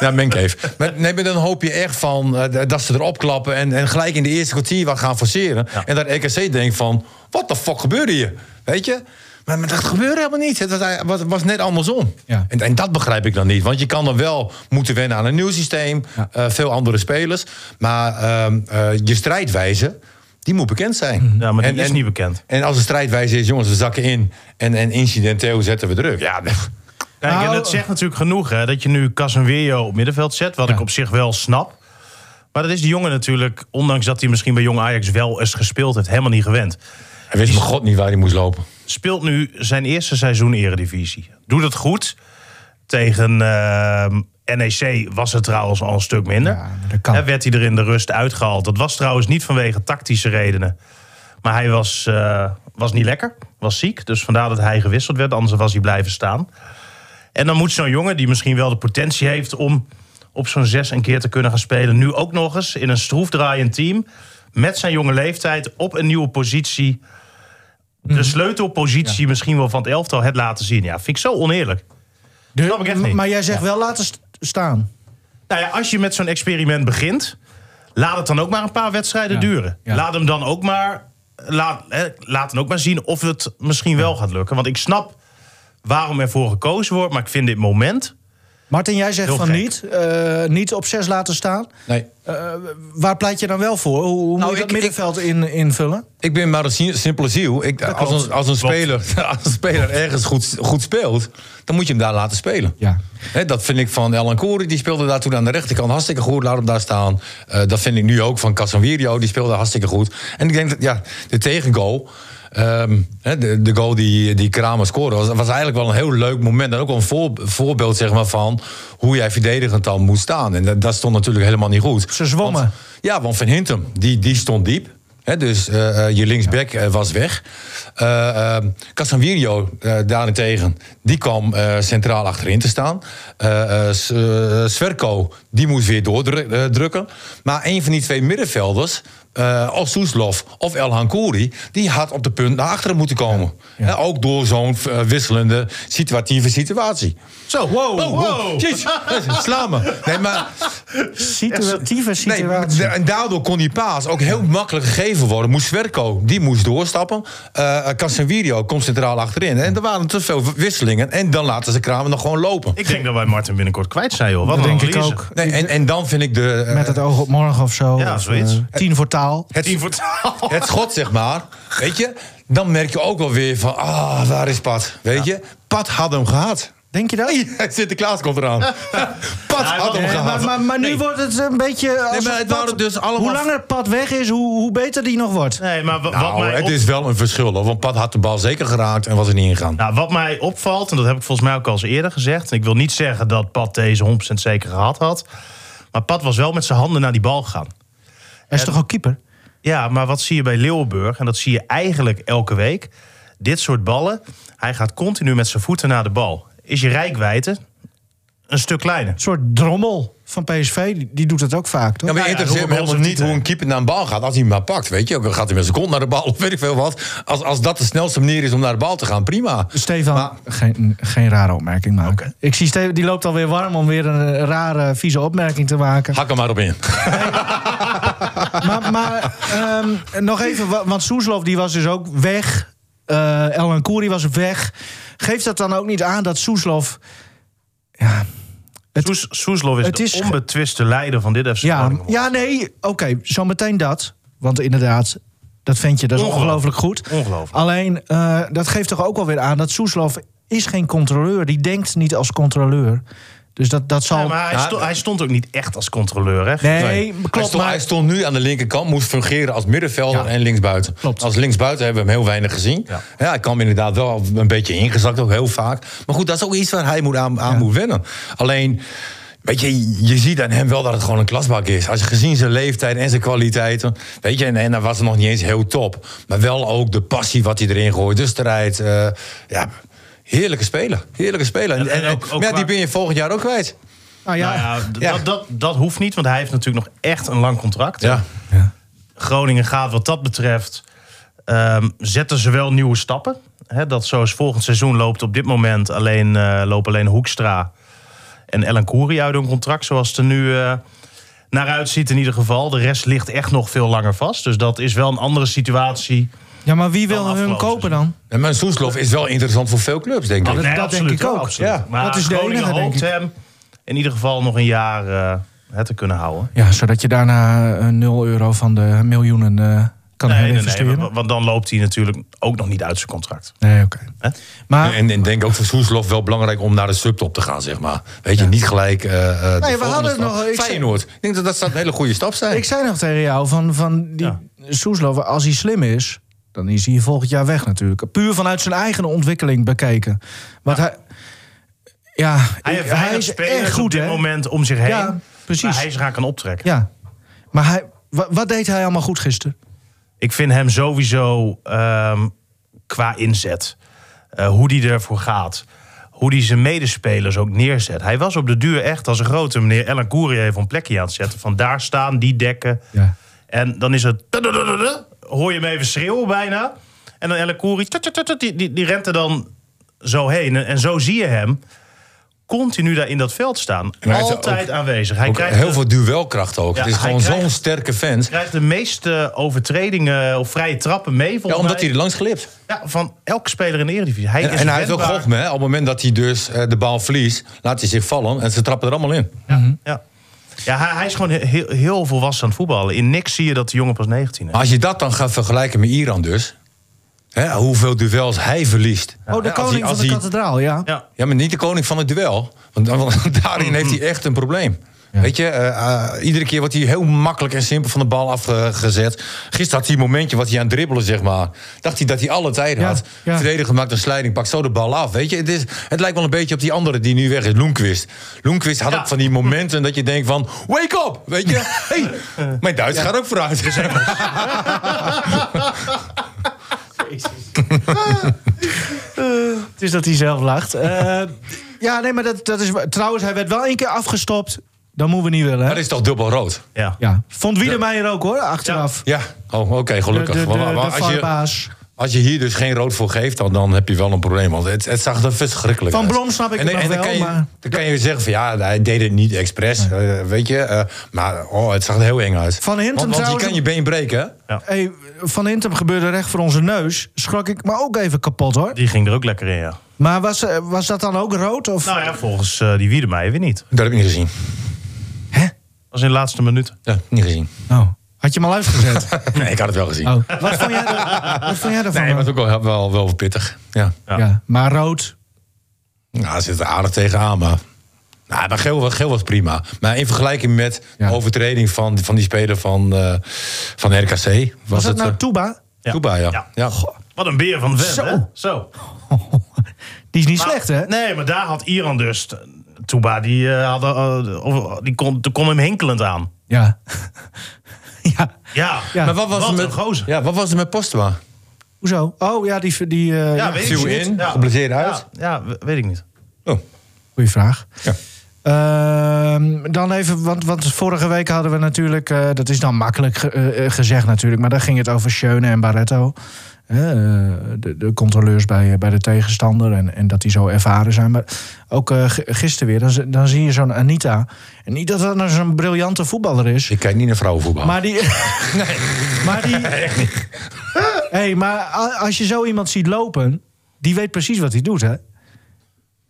Ja, Mencave. Maar, nee, maar dan hoop je echt van eh, dat ze erop klappen en, en gelijk in de eerste kwartier wat gaan forceren. Ja. En dat RKC denkt van, wat de fuck gebeurde hier? Weet je? Maar, maar dat gebeurde helemaal niet. Het was, het was, was net andersom. Ja. En, en dat begrijp ik dan niet. Want je kan dan wel moeten wennen aan een nieuw systeem. Ja. eh, veel andere spelers. Maar ehm, eh, je strijdwijze, die moet bekend zijn. Ja, maar die is niet bekend. En als de strijdwijze is, jongens, we zakken in. En, en incidenteel zetten we druk. Ja, Kijk, en Nou- dat zegt natuurlijk genoeg, hè, dat je nu Casemiro op middenveld zet, wat Ja. ik op zich wel snap. Maar dat is die jongen natuurlijk, ondanks dat hij misschien bij Jong Ajax wel eens gespeeld heeft, helemaal niet gewend. hij wist mijn god niet waar hij moest lopen. Speelt nu zijn eerste seizoen Eredivisie. Doet het goed. Tegen ehm, NEC was het trouwens al een stuk minder. Ja, maar dat kan. Hè, werd hij er in de rust uitgehaald. Dat was trouwens niet vanwege tactische redenen. Maar hij was, eh, was niet lekker. Was ziek. Dus vandaar dat hij gewisseld werd. Anders was hij blijven staan. En dan moet zo'n jongen die misschien wel de potentie heeft om op zo'n zes een keer te kunnen gaan spelen. Nu ook nog eens in een stroefdraaiend team. Met zijn jonge leeftijd op een nieuwe positie. Mhm. De sleutelpositie misschien wel van het elftal het laten zien. Ja, vind ik zo oneerlijk. De- Snap ik echt niet. Maar jij zegt wel laten st- staan. Nou ja, als je met zo'n experiment begint, laat het dan ook maar een paar wedstrijden duren. ja. Laat hem dan ook maar, laat, hè, laat dan ook maar zien of het misschien wel gaat lukken. Want ik snap waarom ervoor gekozen wordt, maar ik vind dit moment. Martin, jij zegt Heel van gek. niet. eh, niet op zes laten staan. Nee. Eh, waar pleit je dan wel voor? Hoe, hoe Nou, moet je dat ik- ik- middenveld in, invullen? Ik ben maar een si- simpele ziel. Ik, als, klopt. een, als, een Klopt. speler, als een speler ergens goed, goed speelt, dan moet je hem daar laten spelen. Ja. Hè, dat vind ik van Elan Koeri, die speelde daar toen aan de rechterkant hartstikke goed. Laat hem daar staan. Eh, dat vind ik nu ook van Casemiro, die speelde hartstikke goed. En ik denk dat ja, de tegengoal, ehm, hè, de, de goal die, die Kramer scoorde, was, was eigenlijk wel een heel leuk moment. En ook wel een voor- voorbeeld zeg maar, van hoe jij verdedigend dan moet staan. En dat, dat stond natuurlijk helemaal niet goed. Ze zwommen. Want- ja, want Van Hintem, die, die stond diep. Hè, dus eh, eh, je linksback eh, was weg. Eh eh, Casemiro eh, daarentegen, die kwam eh, centraal achterin te staan. Eh, eh, S- eh, Sverko, die moest weer doordrukken. Maar een van die twee middenvelders, eh of Soeslof of El Hankouri... die had op de punt naar achteren moeten komen. Hè, ook door zo'n eh, wisselende situatieve situatie. Zo, Oh, wow. Jeez, sla me. Nee, maar Situatieve Nee, situatie. da- en daardoor kon die paas ook heel makkelijk gegeven worden. Moest Werko, die moest doorstappen. Eh Casemiro komt centraal achterin. En er waren te veel wisselingen. En dan laten ze Kramer nog gewoon lopen. Ik denk dat wij Martin binnenkort kwijt zijn, joh. Wat dat een denk ik analyse. ook. Nee, en, en dan vind ik de, eh, Met het oog op morgen of zo. Ja, Of, zoiets. eh, tien voor taal. het, Tien voor twaalf. het schot, zeg maar. Weet je, dan merk je ook wel weer van... Ah, waar is Pat? Weet je, Pat had hem gehad. Denk je dat? Sinterklaas komt eraan. Pat hij had was- hem Nee, gehad. Eh, maar, maar, maar nu Nee. wordt het een beetje... Als maar het waren dus allemaal- Hoe langer het pad weg is, hoe, hoe beter die nog wordt. Nee, maar wa- wat, Nou, mij het op- is wel een verschil. hoor, Want Pat had de bal zeker geraakt en was er niet ingegaan. nou, wat mij opvalt, en dat heb ik volgens mij ook al eens eerder gezegd. En ik wil niet zeggen dat Pat deze 100% zeker gehad had. Maar Pat was wel met zijn handen naar die bal gegaan. Hij is toch ook keeper? Ja, maar wat zie je bij Leeuwenburg, en dat zie je eigenlijk elke week. dit soort ballen. Hij gaat continu met zijn voeten naar de bal. Is je rijkwijde een stuk kleiner. Een soort drommel van PSV, die, die doet dat ook vaak, toch? Ja, maar Nou ja, interesseert me Robben helemaal Olsen niet niet, hoe een keeper naar een bal gaat. Als hij hem maar pakt, weet je. Ook Gaat hij met zijn kont naar de bal of weet ik veel wat. Als, als dat de snelste manier is om naar de bal te gaan, prima. Stefan, geen, geen rare opmerking maken. Ik zie Stefan, die loopt alweer warm om weer een eh, rare, vieze opmerking te maken. Hak er maar op in. maar maar ehm, nog even, wa- want Soeslof die was dus ook weg. Eh El Kouri was weg. Geeft dat dan ook niet aan dat Soeslof... Ja, Het- Soes, Soeslof is, het de is ge- onbetwiste leider van dit FC ja, Groningen. ja nee, oké, zo meteen dat. Want inderdaad, dat vind je, dat is ongelooflijk Ongelooflijk. goed. Ongelooflijk. Alleen, eh, dat geeft toch ook alweer aan dat Soeslof is geen controleur. Die denkt niet als controleur. Dus dat, dat zal... Ja, maar hij, Ja. sto- hij stond ook niet echt als controleur, hè? Nee, hij, klopt, stond, hij maar... stond nu aan de linkerkant, moest fungeren als middenvelder Ja. en linksbuiten. Klopt. Als linksbuiten hebben we hem heel weinig gezien. Ja. Ja. hij kwam inderdaad wel een beetje ingezakt, ook heel vaak. Maar goed, dat is ook iets waar hij moet aan, aan moet wennen. Alleen, weet je, je ziet aan hem wel dat het gewoon een klasbak is. Als je gezien zijn leeftijd en zijn kwaliteiten, weet je, en, en dan was het nog niet eens heel top. Maar wel ook de passie wat hij erin gooit, de strijd. eh, ja, heerlijke speler, heerlijke speler. En, En- en en- ook- ook maar ja, die qua- ben je volgend jaar ook kwijt. Nou Nou ja, ja, d- Ja. Dat, dat, dat hoeft niet, want hij heeft natuurlijk nog echt een lang contract. Ja. Groningen gaat wat dat betreft, ehm, zetten ze wel nieuwe stappen. Hè, dat zoals volgend seizoen loopt op dit moment alleen, eh, lopen alleen Hoekstra en Ellen Koeri uit hun contract. Zoals het er nu eh, naar uitziet in ieder geval. De rest ligt echt nog veel langer vast. Dus dat is wel een andere situatie. ja, maar wie wil hun Dan afgelopen kopen dan? En mijn Soeslof is wel interessant voor veel clubs, denk ik. dat- dat absoluut, denk ik hoor, ook. absoluut. Ja, maar dat is de Groningen enige, denk hoopt ik. hem in ieder geval nog een jaar eh, het te kunnen houden. Ja, zodat je daarna eh, 0 euro van de miljoenen eh, kan Nee, nee, nee, herinvesteren. Nee, want- want dan loopt hij natuurlijk ook nog niet uit zijn contract. oké. Hè? Maar En, en denk ook voor Soeslof wel belangrijk om naar de subtop te gaan, zeg maar. Weet je, niet gelijk. eh, eh, de volgende hadden het stap. nog- ik zei- Feyenoord. Ik denk dat dat zou een hele goede stap zijn. ik zei nog tegen jou van, van die Ja. Soeslof, als hij slim is, dan is hij volgend jaar weg natuurlijk. Puur vanuit zijn eigen ontwikkeling bekeken. Want hij, ja, Hij ik- heeft weinig is spelers echt goed op dit hè? moment om zich heen. Ja, precies. Waar hij zich aan kan optrekken. Ja, maar hij, wa- wat deed hij allemaal goed gisteren? Ik vind hem sowieso ehm, qua inzet. eh, hoe die ervoor gaat. Hoe die zijn medespelers ook neerzet. Hij was op de duur echt als een grote meneer. Ellen Koeri even een plekje aan het zetten. Van daar staan, die dekken. Ja. En dan is het... tadadadada, Hoor je hem even schreeuwen bijna. En dan Ellen Koeri... tadadadada, Die, die, die rent er dan zo heen. En, en zo zie je hem continu daar in dat veld staan. hij heeft Altijd ook- aanwezig. Hij Ook krijgt heel de- veel duelkracht ook. Ja, het is hij gewoon krijgt- zo'n sterke fans. krijgt de meeste overtredingen of vrije trappen mee. Ja, Volgens omdat hij mij. er langs glipt. Ja, van elke speler in de Eredivisie. Hij En, is en hij heeft ook wendbaar. goochem, hè. Op het moment dat hij dus eh, de bal verliest, laat hij zich vallen. En ze trappen er allemaal in. Ja, ja hij, hij is gewoon heel, heel volwassen aan het voetballen. In niks zie je dat de jongen pas 19 is. Maar als je dat dan gaat vergelijken met Iran dus. Hè, hoeveel duels hij verliest. Oh, de Hè, als koning hij- als van de hij- kathedraal, ja. Ja. Ja, maar niet de koning van het duel. Want, want daarin heeft hij echt een probleem. Weet je, eh, eh, iedere keer wordt hij heel makkelijk en simpel van de bal afgezet. Gisteren had hij een momentje wat hij aan het dribbelen, zeg maar. Dacht hij dat hij alle tijd Ja, had. ja. Verdediger maakt een slijding, pakt zo de bal af. Weet je, het, is, het lijkt wel een beetje op die andere die nu weg is, Loenquist. Loenquist had Ja. ook van die momenten dat je denkt van... Wake up! Weet je, hey, mijn Duits gaat ook vooruit. Het is dat hij zelf lacht. Eh, ja, nee, maar dat, dat is... wa- Trouwens, hij werd wel één keer afgestopt. Dat moeten we niet willen, hè? dat is toch dubbel rood? Ja. Ja. Vond Wiedemeijer ook, hoor, achteraf. Ja, oh, oké, De, de, gelukkig. de, Maar- maar de als je- VAR-baas. Als je hier dus geen rood voor geeft, dan, dan heb je wel een probleem. Want het, het zag er verschrikkelijk Van uit. Blom snap ik en, het nog en dan wel, kan je, maar- Dan kan je zeggen van ja, hij deed het niet expres. eh, weet je, eh, maar oh, het zag er heel eng uit. Van Hintem want, want trouwens- je kan je been breken, hè? Hey, van Hintem gebeurde recht voor onze neus. Schrok ik me ook even kapot, hoor. Die ging er ook lekker in, ja. Maar was, eh, was dat dan ook rood? Of... Nou ja, volgens eh, die Wiedemeijer weer niet. Dat heb ik niet gezien. Dat is in de laatste minuut. Ja, niet gezien. Oh. Had je hem al uitgezet? nee, ik had het wel gezien. oh. Wat vond jij, er- wat vond jij ervan? Nee, maar het was ook wel, wel, wel pittig. Ja. ja. Maar rood... Nou, hij zit er aardig tegenaan, maar... Nou, maar geel, was- geel was prima. Maar in vergelijking met Ja. de overtreding van, van die speler van, eh, van RKC... Was, Was, dat het, nou eh, Touba? Touba, ja. Ja. ja. Wat een beer van de vent, Zo. hè? Zo. Die is niet Maar- slecht, hè? Nee, maar daar had Iran dus... t- Touba, die, eh, had, eh, of- die kon, die kon hem hinkelend aan. Ja. ja. Ja, Ja. Maar wat was, Wat er een met, gozer. ja, wat was er met Postma? Hoezo? Oh ja, die... die eh, ja. Ja, weet ik viel niet. in, Ja. geblesseerd uit. Ja, ja, we- weet ik niet. Oh, Goeie vraag. ja. Ehm, dan even, want, want vorige week hadden we natuurlijk... eh, dat is dan makkelijk ge- eh, eh, gezegd natuurlijk... maar daar ging het over Schöne en Barretto. Eh, de, de controleurs bij, eh, bij de tegenstander. En, en dat die zo ervaren zijn. Maar ook eh, g- gisteren weer, dan, z- dan zie je zo'n Anita. En niet dat dat nou zo'n briljante voetballer is. Ik kijk niet naar vrouwenvoetbal. Maar die. Maar die. hey, maar a- als je zo iemand ziet lopen. die weet precies wat hij doet, hè?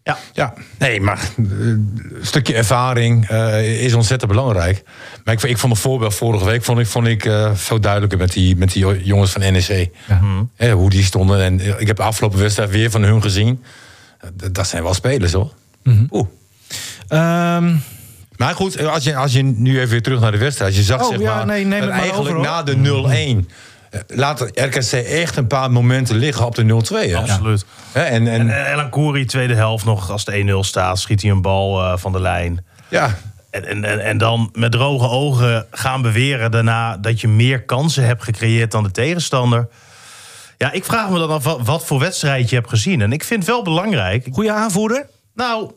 Ja, Ja, nee, maar eh, een stukje ervaring eh, is ontzettend belangrijk. Maar ik, ik vond het voorbeeld vorige week vond ik, vond ik, eh, veel duidelijker met die, met die jongens van NEC. Hè, hoe die stonden. En eh, ik heb de afgelopen wedstrijd weer van hun gezien. Eh, d- dat zijn wel spelers hoor. Oeh. Ehm, Maar goed, eh, als je, als je nu even weer terug naar de wedstrijd. Als je zag Oh, zeg ja, maar, nee, neem dat het maar eigenlijk over, hoor. na de 0-1... eh, Laat RKC echt een paar momenten liggen op de 0-2. hè? absoluut. Hè, En, en, eh, En Elan Koeri, tweede helft nog, als de 1-0 staat, schiet hij een bal eh, van de lijn. ja, En, en, en, en dan met droge ogen gaan beweren daarna dat je meer kansen hebt gecreëerd dan de tegenstander. Ja, ik vraag me dan af wat, wat voor wedstrijd je hebt gezien. En ik vind het wel belangrijk. Ik- goede aanvoerder. Nou,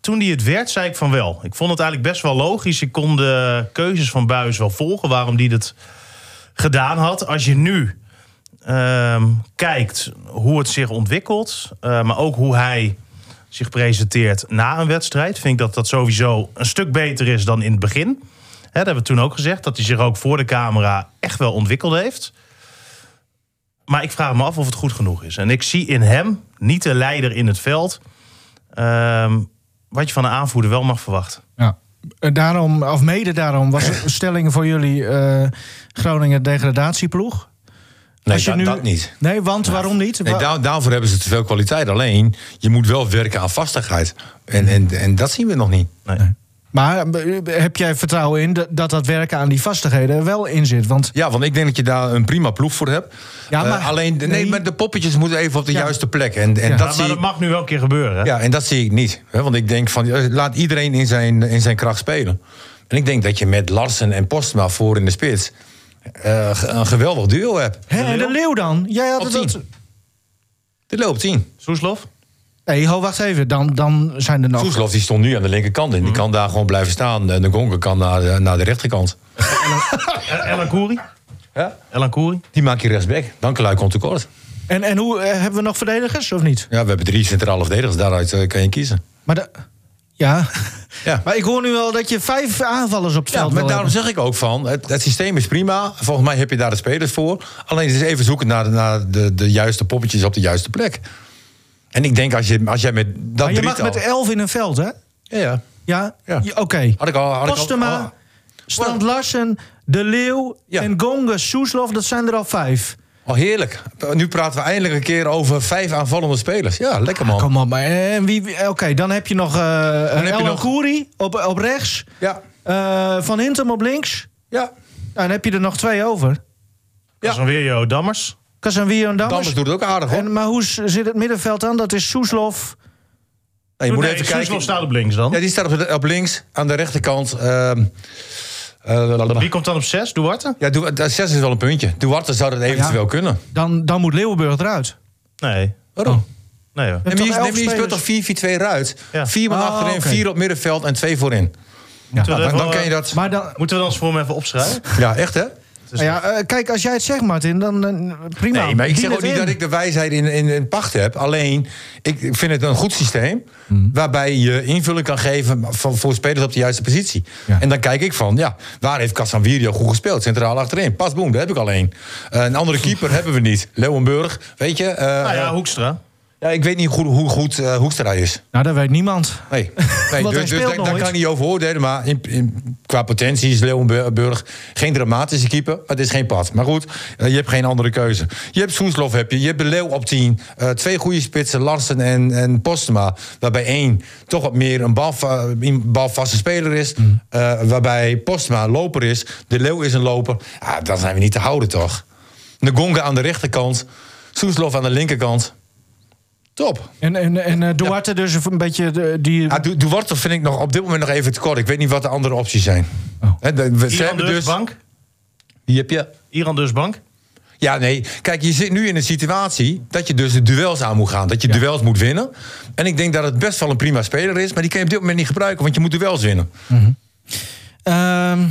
toen hij het werd, zei ik van wel. Ik vond het eigenlijk best wel logisch. Ik kon de keuzes van Buis wel volgen waarom hij dat gedaan had. Als je nu ehm, kijkt hoe het zich ontwikkelt, eh, maar ook hoe hij zich presenteert na een wedstrijd, vind ik dat dat sowieso een stuk beter is dan in het begin. Hè, dat hebben we toen ook gezegd, dat hij zich ook voor de camera echt wel ontwikkeld heeft. Maar ik vraag me af of het goed genoeg is. En ik zie in hem niet de leider in het veld. ehm, wat je van een aanvoerder wel mag verwachten. Ja. Eh, Daarom, of mede daarom, was een stelling voor jullie eh, Groningen degradatieploeg. nee, Als je dat- nu- dat niet. Nee, want waarom niet? Nee, Wa- daar- daarvoor hebben ze te veel kwaliteit. Alleen, je moet wel werken aan vastigheid. En, en, en dat zien we nog niet. Nee. maar eh, heb jij vertrouwen in dat- dat dat werken aan die vastigheden er wel in zit? Want Ja, want ik denk dat je daar een prima ploeg voor hebt. Ja, Ja, maar- maar, alleen, de- nee, nee. maar de poppetjes moeten even op de Ja. juiste plek. En, en Ja. dat Maar, zie maar ik- dat mag nu wel een keer gebeuren. Hè? Ja, en dat zie ik niet. Hè, Want ik denk van, eh, laat iedereen in zijn, in zijn kracht spelen. En ik denk dat je met Larsen en Postma voor in de spits... eh, ge- een geweldig duo hebt. hè, en de leeuw dan? Jij had Op het dat. tien. Dit loopt tien. Soeslof? Nee, ho, wacht even. Dan, dan zijn er nog. Soeslof Oh, die stond nu aan de linkerkant en die Mhm. kan daar gewoon blijven staan. En de Gonker kan naar, de- naar de rechterkant. El- Elan Koeri? Ja? Elan Koeri? Die maak je rechtsback. Dan Kluik komt tekort. En, en hoe eh, hebben we nog verdedigers of niet? Ja, we hebben drie centrale verdedigers. Daaruit eh, kan je kiezen. Maar da- ja. Ja. Maar ik hoor nu wel dat je vijf aanvallers op het Ja, veld maar wil daarom hebben. zeg ik ook van, het, het systeem is prima. Volgens mij heb je daar de spelers voor. Alleen het is even zoeken naar, de- naar de, de juiste poppetjes op de juiste plek. En ik denk als, je, als jij met dat Maar je mag met drietal... e- elf in een veld, hè? Ja, ja. Ja? Ja. Je- Oké. Had ik al... Oh, Had ik al- al- Postema, Strand Larsen, De Leeuw Ja. en Gonge, Soeslof, dat zijn er al vijf. al heerlijk. Nu praten we eindelijk een keer over vijf aanvallende spelers. Ja, lekker man. Ah, Kom op, maar eh, en wie... wie- Oké, dan heb je nog eh heb je El nog- Gouri op, op rechts. ja, eh, Van Hintem op links. ja. Nou, dan heb je er nog twee over. Ja. Dat is dan weer Jo Dammers. Casanwio en Dammers. Dammers doet het ook aardig hoor. En, maar hoe s- zit het middenveld dan? Dat is Soeslof. Nou, je moet Nee, even Soeslof kijken. staat op links dan. Ja, die staat op, de- op links, aan de rechterkant. ehm, eh, Wie komt dan op zes? Duarte? Ja, Du- dat zes is wel een puntje. Duarte zou dat eventueel kunnen. Dan, dan moet Leeuwenburg eruit. Nee. Waarom? Nee hoor. toch Nee, maar je, elf nee, maar je speelt spelers? toch 4-4-2 eruit? Ja. Vier man Ah, achterin, oké. vier op middenveld en twee voorin. Moeten we Dan, even, dan kan eh, je dat... Maar dan, Moeten we dan voor hem even opschrijven? Ja, echt hè? Nou ja, eh, kijk, als jij het zegt, Martin, dan eh, prima. Nou, Nee, maar ik Dien zeg ook het niet in. dat ik de wijsheid in, in, in pacht heb. Alleen, ik ik vind het een goed systeem... Hmm. waarbij je invulling kan geven voor, voor spelers op de juiste positie. Ja. En dan kijk ik van, ja, waar heeft Casanvirio goed gespeeld? Centraal achterin. Pas boem, daar heb ik alleen. Eh, een andere keeper hebben we niet. Leeuwenburg, weet je? eh, Nou ja, Hoekstra. ja, ik weet niet goed, hoe goed eh, Hoekstra is. Nou, dat weet niemand. Nee, nee Want dus, hij dus speelt daar, daar nooit. kan ik niet over oordelen. Maar in, in- qua potentie is Leeuwenburg geen dramatische keeper. Maar het is geen pad. Maar goed, eh, je hebt geen andere keuze. Je hebt Soeslof, heb je, je hebt de Leeuw op 10. eh, twee goede spitsen, Larsen en, en Postema. Waarbij één toch wat meer een balva- een balvaste speler is. Mm. eh, waarbij Postema een loper is. De Leeuw is een loper. Ah, dan zijn we niet te houden, toch? Ngonga aan de rechterkant. Soeslof aan de linkerkant. Top. En, en, en eh, Duarte dus een beetje de, die... Ja, Ah, Du- Duarte vind ik nog op dit moment nog even tekort. Ik weet niet wat de andere Oh. opties zijn. Hè, de- we- ze Iran hebben dus, dus... bank. Die heb je. Iran dus bank. Ja, nee. Kijk, je zit nu in een situatie dat je dus de duels aan moet gaan. Dat je duels moet winnen. En ik denk dat het best wel een prima speler is. Maar die kan je op dit moment niet gebruiken, want je moet duels winnen. Ehm,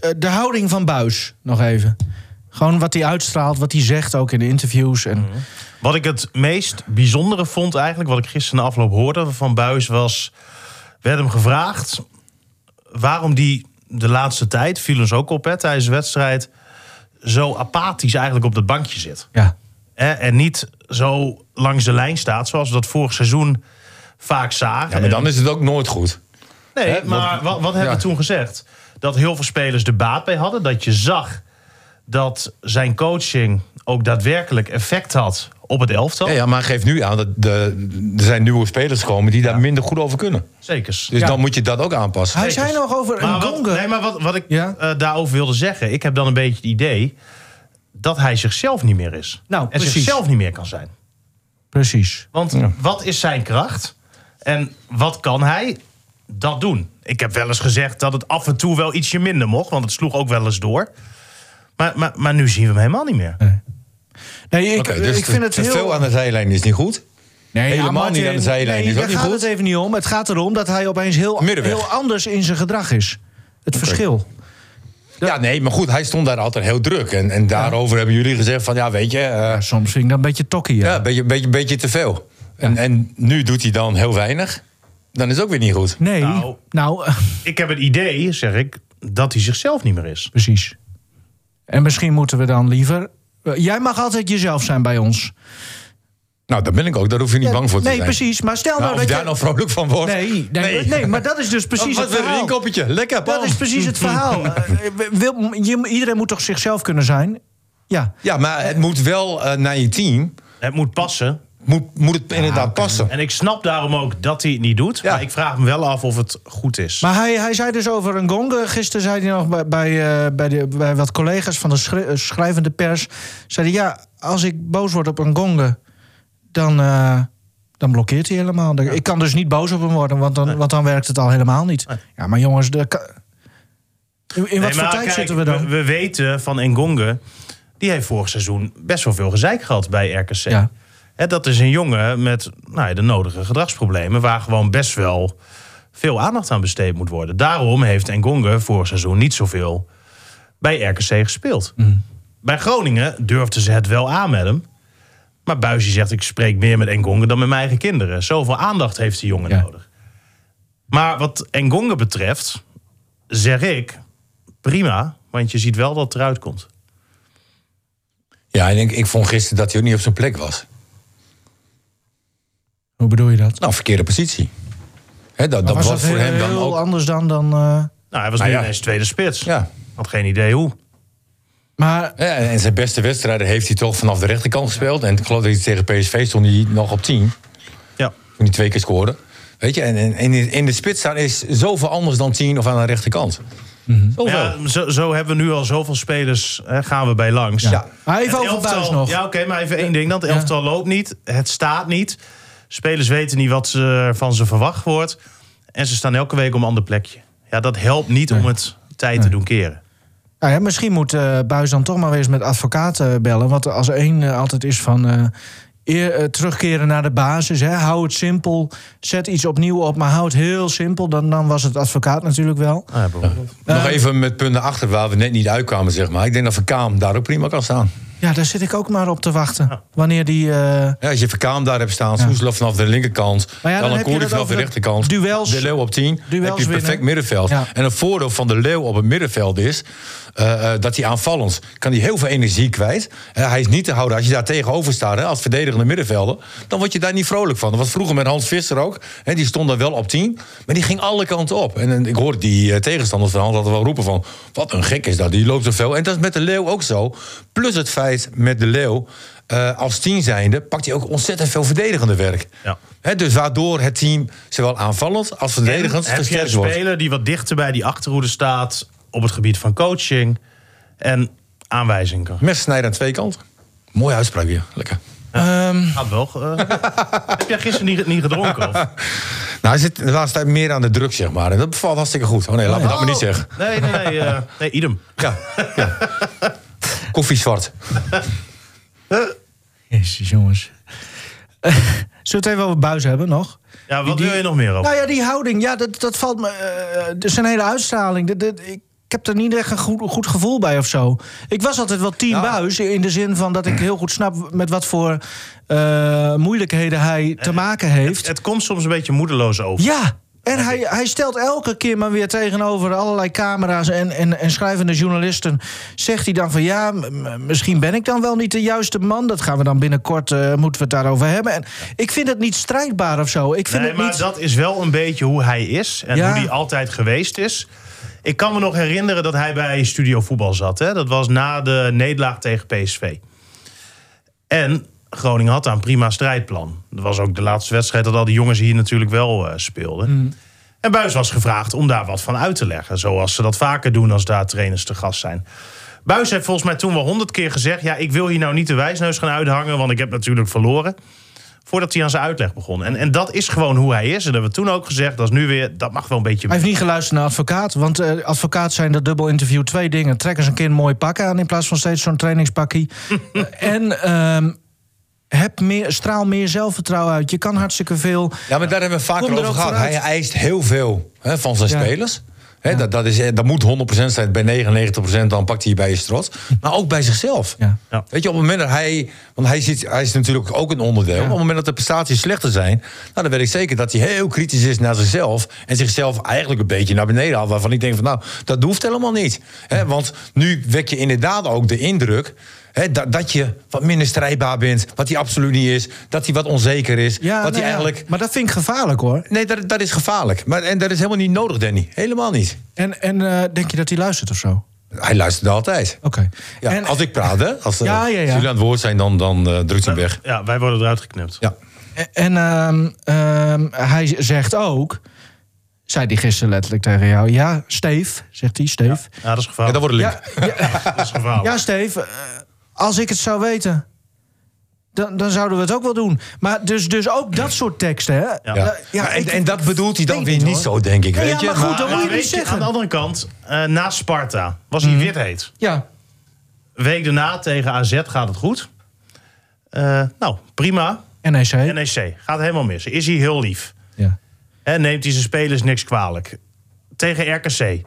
eh, de houding van Buis, nog even. Gewoon wat hij uitstraalt, wat hij zegt ook in de interviews. En, Mhm. Wat ik het meest bijzondere vond eigenlijk, wat ik gisteren na afloop hoorde van Buis, was. werd hem gevraagd waarom die de laatste tijd, viel ons ook op hè, tijdens de wedstrijd. zo apathisch eigenlijk op dat bankje zit. ja. Hè, en niet zo langs de lijn staat zoals we dat vorig seizoen vaak zagen. Ja, maar dan is het ook nooit goed. Nee, Hè, maar want- wat, wat hebben ja. we toen gezegd? Dat heel veel spelers er baat bij hadden. Dat je zag dat zijn coaching ook daadwerkelijk effect had op het elftal. Oh. Ja, ja, maar geef nu aan dat de, er zijn nieuwe spelers gekomen die daar minder goed over kunnen. Zekers. Dus Ja. dan moet je dat ook aanpassen. Hij zei nog over een Maar wat, gonger. nee, maar wat, wat ik Ja? eh, daarover wilde zeggen... ik heb dan een beetje het idee dat hij zichzelf niet meer is. Nou, en precies. zichzelf niet meer kan zijn. Precies. Want wat is zijn kracht? En wat kan hij? Dat doen. Ik heb wel eens gezegd dat het af en toe wel ietsje minder mocht. Want het sloeg ook wel eens door. Maar, maar, maar nu zien we hem helemaal niet meer. Nee, ik, Oké, dus ik vind het te heel... veel aan de zijlijn is niet goed. Nee, Helemaal ja, Martin, niet aan de nee, zijlijn. Is dat daar niet gaat goed? het even niet om. Het gaat erom dat hij opeens heel, Middenweg. heel anders in zijn gedrag is. Het verschil. Ja. nee, maar goed, hij stond daar altijd heel druk. En, en daarover hebben jullie gezegd van, ja, weet je, eh, Ja, soms vind ik dat een beetje tokkie. ja. ja, een beetje, beetje, beetje te veel. En, en nu doet hij dan heel weinig. Dan is het ook weer niet goed. Nee, nou, Nou. Ik heb het idee, zeg ik, dat hij zichzelf niet meer is. precies. En misschien moeten we dan liever... eh, Jij mag altijd jezelf zijn bij ons. Nou, daar ben ik ook. Daar hoef je niet bang voor te nee, zijn. precies. Maar stel Nou, nou, of je dat daar je... nou vrolijk van wordt. nee, nee, nee. maar dat is dus precies Wat het weer een verhaal. inkoppertje. Lekker, Dat Paul. is precies het verhaal. Eh, wil- je- iedereen moet toch zichzelf kunnen zijn? Ja. Ja, maar het moet wel eh, naar je team. Het moet passen. Moet, moet het inderdaad passen. En ik snap daarom ook dat hij het niet doet. Ja. Maar ik vraag me wel af of het goed is. Maar hij, hij zei dus over een gong. eh, Gisteren zei hij nog bij, bij, eh, bij, de, bij wat collega's van de schri- eh, schrijvende pers. Zei hij, ja, als ik boos word op een gong, eh, dan, eh, dan blokkeert hij helemaal. Dan- Ik kan dus niet boos op hem worden, want dan, want dan werkt het al helemaal niet. Ja, maar jongens, de, ka- in, in wat Nee, voor maar tijd kijk, zitten we dan? We, weten van Engonge, die heeft vorig seizoen best wel veel gezeik gehad bij RKC. Ja. Hè, dat is een jongen met nou ja, de nodige gedragsproblemen, waar gewoon best wel veel aandacht aan besteed moet worden. Daarom heeft Engonge vorig seizoen niet zoveel bij RKC gespeeld. Mm. Bij Groningen durfden ze het wel aan met hem. Maar Buisje zegt, ik spreek meer met Engonge dan met mijn eigen kinderen. Zoveel aandacht heeft die jongen Ja. nodig. Maar wat Engonge betreft, zeg ik, prima. Want je ziet wel dat het eruit komt. Ja, en ik, ik vond gisteren dat hij ook niet op zijn plek was. Hoe bedoel je dat? Nou, verkeerde positie. Hè, dat dat was, was dat voor heel, hem dan ook. anders dan... dan eh, Nou, hij was Nou nu ja. ineens tweede spits. Ja. Had geen idee hoe. maar Ja, en zijn beste wedstrijden heeft hij toch vanaf de rechterkant gespeeld. En ik geloof dat hij tegen PSV stond hij nog op 10. Ja. Toen hij twee keer scoorde. Weet je, en, en en in, in de spits staan is zoveel anders dan 10 of aan de rechterkant. Mhm. Zoveel. ja zo, zo hebben we nu al zoveel spelers, hè, gaan we bij langs. Ja. Maar even Het over elftal- Buijs nog. Ja, oké, maar even één ding dan. Het elftal loopt niet, het staat niet. Spelers weten niet wat ze, van ze verwacht wordt. En ze staan elke week op een ander plekje. Ja, dat helpt niet om het tijd te doen keren. Nou ja, misschien moet eh Buis dan toch maar weer eens met advocaten eh, bellen. Want als er één eh, altijd is van eh, eer, eh, terugkeren naar de basis. Hè, hou het simpel. Zet iets opnieuw op, maar hou het heel simpel. Dan, dan was het advocaat natuurlijk wel. Nou, ja, bijvoorbeeld. Nog even met punten achter waar we net niet uitkwamen, zeg maar. Ik denk dat Verkaam daar ook prima kan staan. Ja, daar zit ik ook maar op te wachten. Wanneer die. eh, Ja, als je Verkaam daar hebt staan, Soeslof vanaf de linkerkant... Maar ja, dan dan heb je Koeri dat vanaf de over rechterkant... duels- de Leeuw op 10, duels heb je perfect winnen. middenveld. Ja. En een voordeel van de Leeuw op het middenveld is... eh, eh, dat hij aanvallend kan hij heel veel energie kwijt. Eh, hij is niet te houden als je daar tegenover staat... Hè, als verdedigende middenvelder, dan word je daar niet vrolijk van. Dat was vroeger met Hans Visser ook. Hè, die stond daar wel op 10, maar die ging alle kanten op. En, en ik hoorde die eh, tegenstanders van Hans altijd wel roepen van... wat een gek is dat, die loopt zoveel. En dat is met de Leeuw ook zo. Plus het feit met de Leeuw... eh, als tien zijnde pakt hij ook ontzettend veel verdedigende werk. Ja. Hè, dus waardoor het team zowel aanvallend als verdedigend heb je een versterkt wordt. speler die wat dichter bij die achterhoede staat... op het gebied van coaching en aanwijzingen kan Mes snijden aan twee kanten. Mooie uitspraak weer. Lekker. ehm, Gaat wel. eh, heb jij gisteren niet, niet gedronken? Of? Nou, hij zit de laatste tijd meer aan de druk, zeg maar. En dat bevalt Oh. hartstikke goed. Oh nee, laat me dat maar niet zeggen. Nee, nee, nee, eh, nee idem. Ja. ja. Koffiezwart. Jezus, jongens. Zullen we het even over buis hebben nog? Ja, wat Die- wil je nog meer over? Nou ja, die houding, ja, dat, dat valt me. eh, dus zijn hele uitstraling. Dat, dat- ik heb er niet echt een goed, goed gevoel bij of zo. Ik was altijd wel team buis. In de zin van dat ik heel goed snap met wat voor eh, moeilijkheden hij Eh, te maken heeft. Het, het komt soms een beetje moedeloos over. Ja, en eh, hij, hij stelt elke keer maar weer tegenover allerlei camera's en, en, en schrijvende journalisten. Zegt hij dan van ja, m- m- misschien ben ik dan wel niet de juiste man. Dat gaan we dan binnenkort, eh, moeten we het daarover hebben. En ik vind het niet strijdbaar of zo. Ik vind nee, het maar niet... dat is wel een beetje hoe hij is en Ja. hoe hij altijd geweest is. Ik kan me nog herinneren dat hij bij Studio Voetbal zat. Hè? Dat was na de nederlaag tegen PSV. En Groningen had daar een prima strijdplan. Dat was ook de laatste wedstrijd dat al die jongens hier natuurlijk wel eh, speelden. Hmm. En Buis was gevraagd om daar wat van uit te leggen. Zoals ze dat vaker doen als daar trainers te gast zijn. Buis heeft volgens mij toen wel honderd keer gezegd: Ja, ik wil hier nou niet de wijsneus gaan uithangen, want ik heb natuurlijk verloren. Voordat hij aan zijn uitleg begon. En, en dat is gewoon hoe hij is. En dat hebben we toen ook gezegd. Dat is nu weer, dat mag wel een beetje. Hij heeft niet geluisterd naar advocaat. Want eh, advocaat zijn dat dubbel interview twee dingen. Trek eens een keer een mooi pak aan in plaats van steeds zo'n trainingspakkie. Eh, en ehm, heb meer, straal meer zelfvertrouwen uit. Je kan hartstikke veel. Ja, maar daar hebben we vaker Kom er over ook gehad. vooruit. Hij eist heel veel hè, van zijn Ja. spelers. Hè, dat, dat, is, eh, dat moet 100% zijn. Bij 99% dan pakt hij je bij je strot. Maar ook bij zichzelf. Ja. Ja. Weet je, op het moment dat hij... Want hij, ziet, hij is natuurlijk ook een onderdeel. Op het moment dat de prestaties slechter zijn... Nou, dan weet ik zeker dat hij heel kritisch is naar zichzelf. En zichzelf eigenlijk een beetje naar beneden haalt. Waarvan ik denk van, nou, dat hoeft helemaal niet. Hè, want nu wek je inderdaad ook de indruk... Hè, dat, dat je wat minder strijdbaar bent. Wat hij absoluut niet is. Dat hij wat onzeker is. Ja, wat nou hij ja, eigenlijk... Maar dat vind ik gevaarlijk hoor. Nee, dat, dat is gevaarlijk. Maar, en dat is helemaal niet nodig, Danny. Helemaal niet. En, en eh, denk je dat hij luistert of zo? Oké. Hij luistert altijd. Ja, en, als ik praat, hè? Als, eh, Ja, ja, ja. als jullie aan het woord zijn, dan, dan eh, drukt hij hem weg. Ja, wij worden eruit geknipt. Ja. en ehm, ehm, hij zegt ook, zei hij gisteren letterlijk tegen jou. Ja, Steef, zegt hij, Steef. Ja, dat is Ja, gevaarlijk. dat wordt link. Ja, ja, dat is Oh. gevaarlijk. ja Steef, eh, als ik het zou weten, dan, dan zouden we het ook wel doen. Maar dus, dus ook dat soort teksten, hè? Ja. Ja. ja, Maar en, ik- en dat bedoelt hij dan weet weer niet, niet, hoor. zo, denk ik. Ja, weet ja, je? maar goed, dat moet je Maar niet weet je, aan de zeggen. Mhm. andere kant, eh, na Sparta was hij wit heet. Ja, Week daarna tegen AZ gaat het goed. Eh, nou, prima. NEC. NEC E gaat helemaal mis. Is hij heel lief. Ja. Hè, neemt hij zijn spelers niks kwalijk. Tegen RKC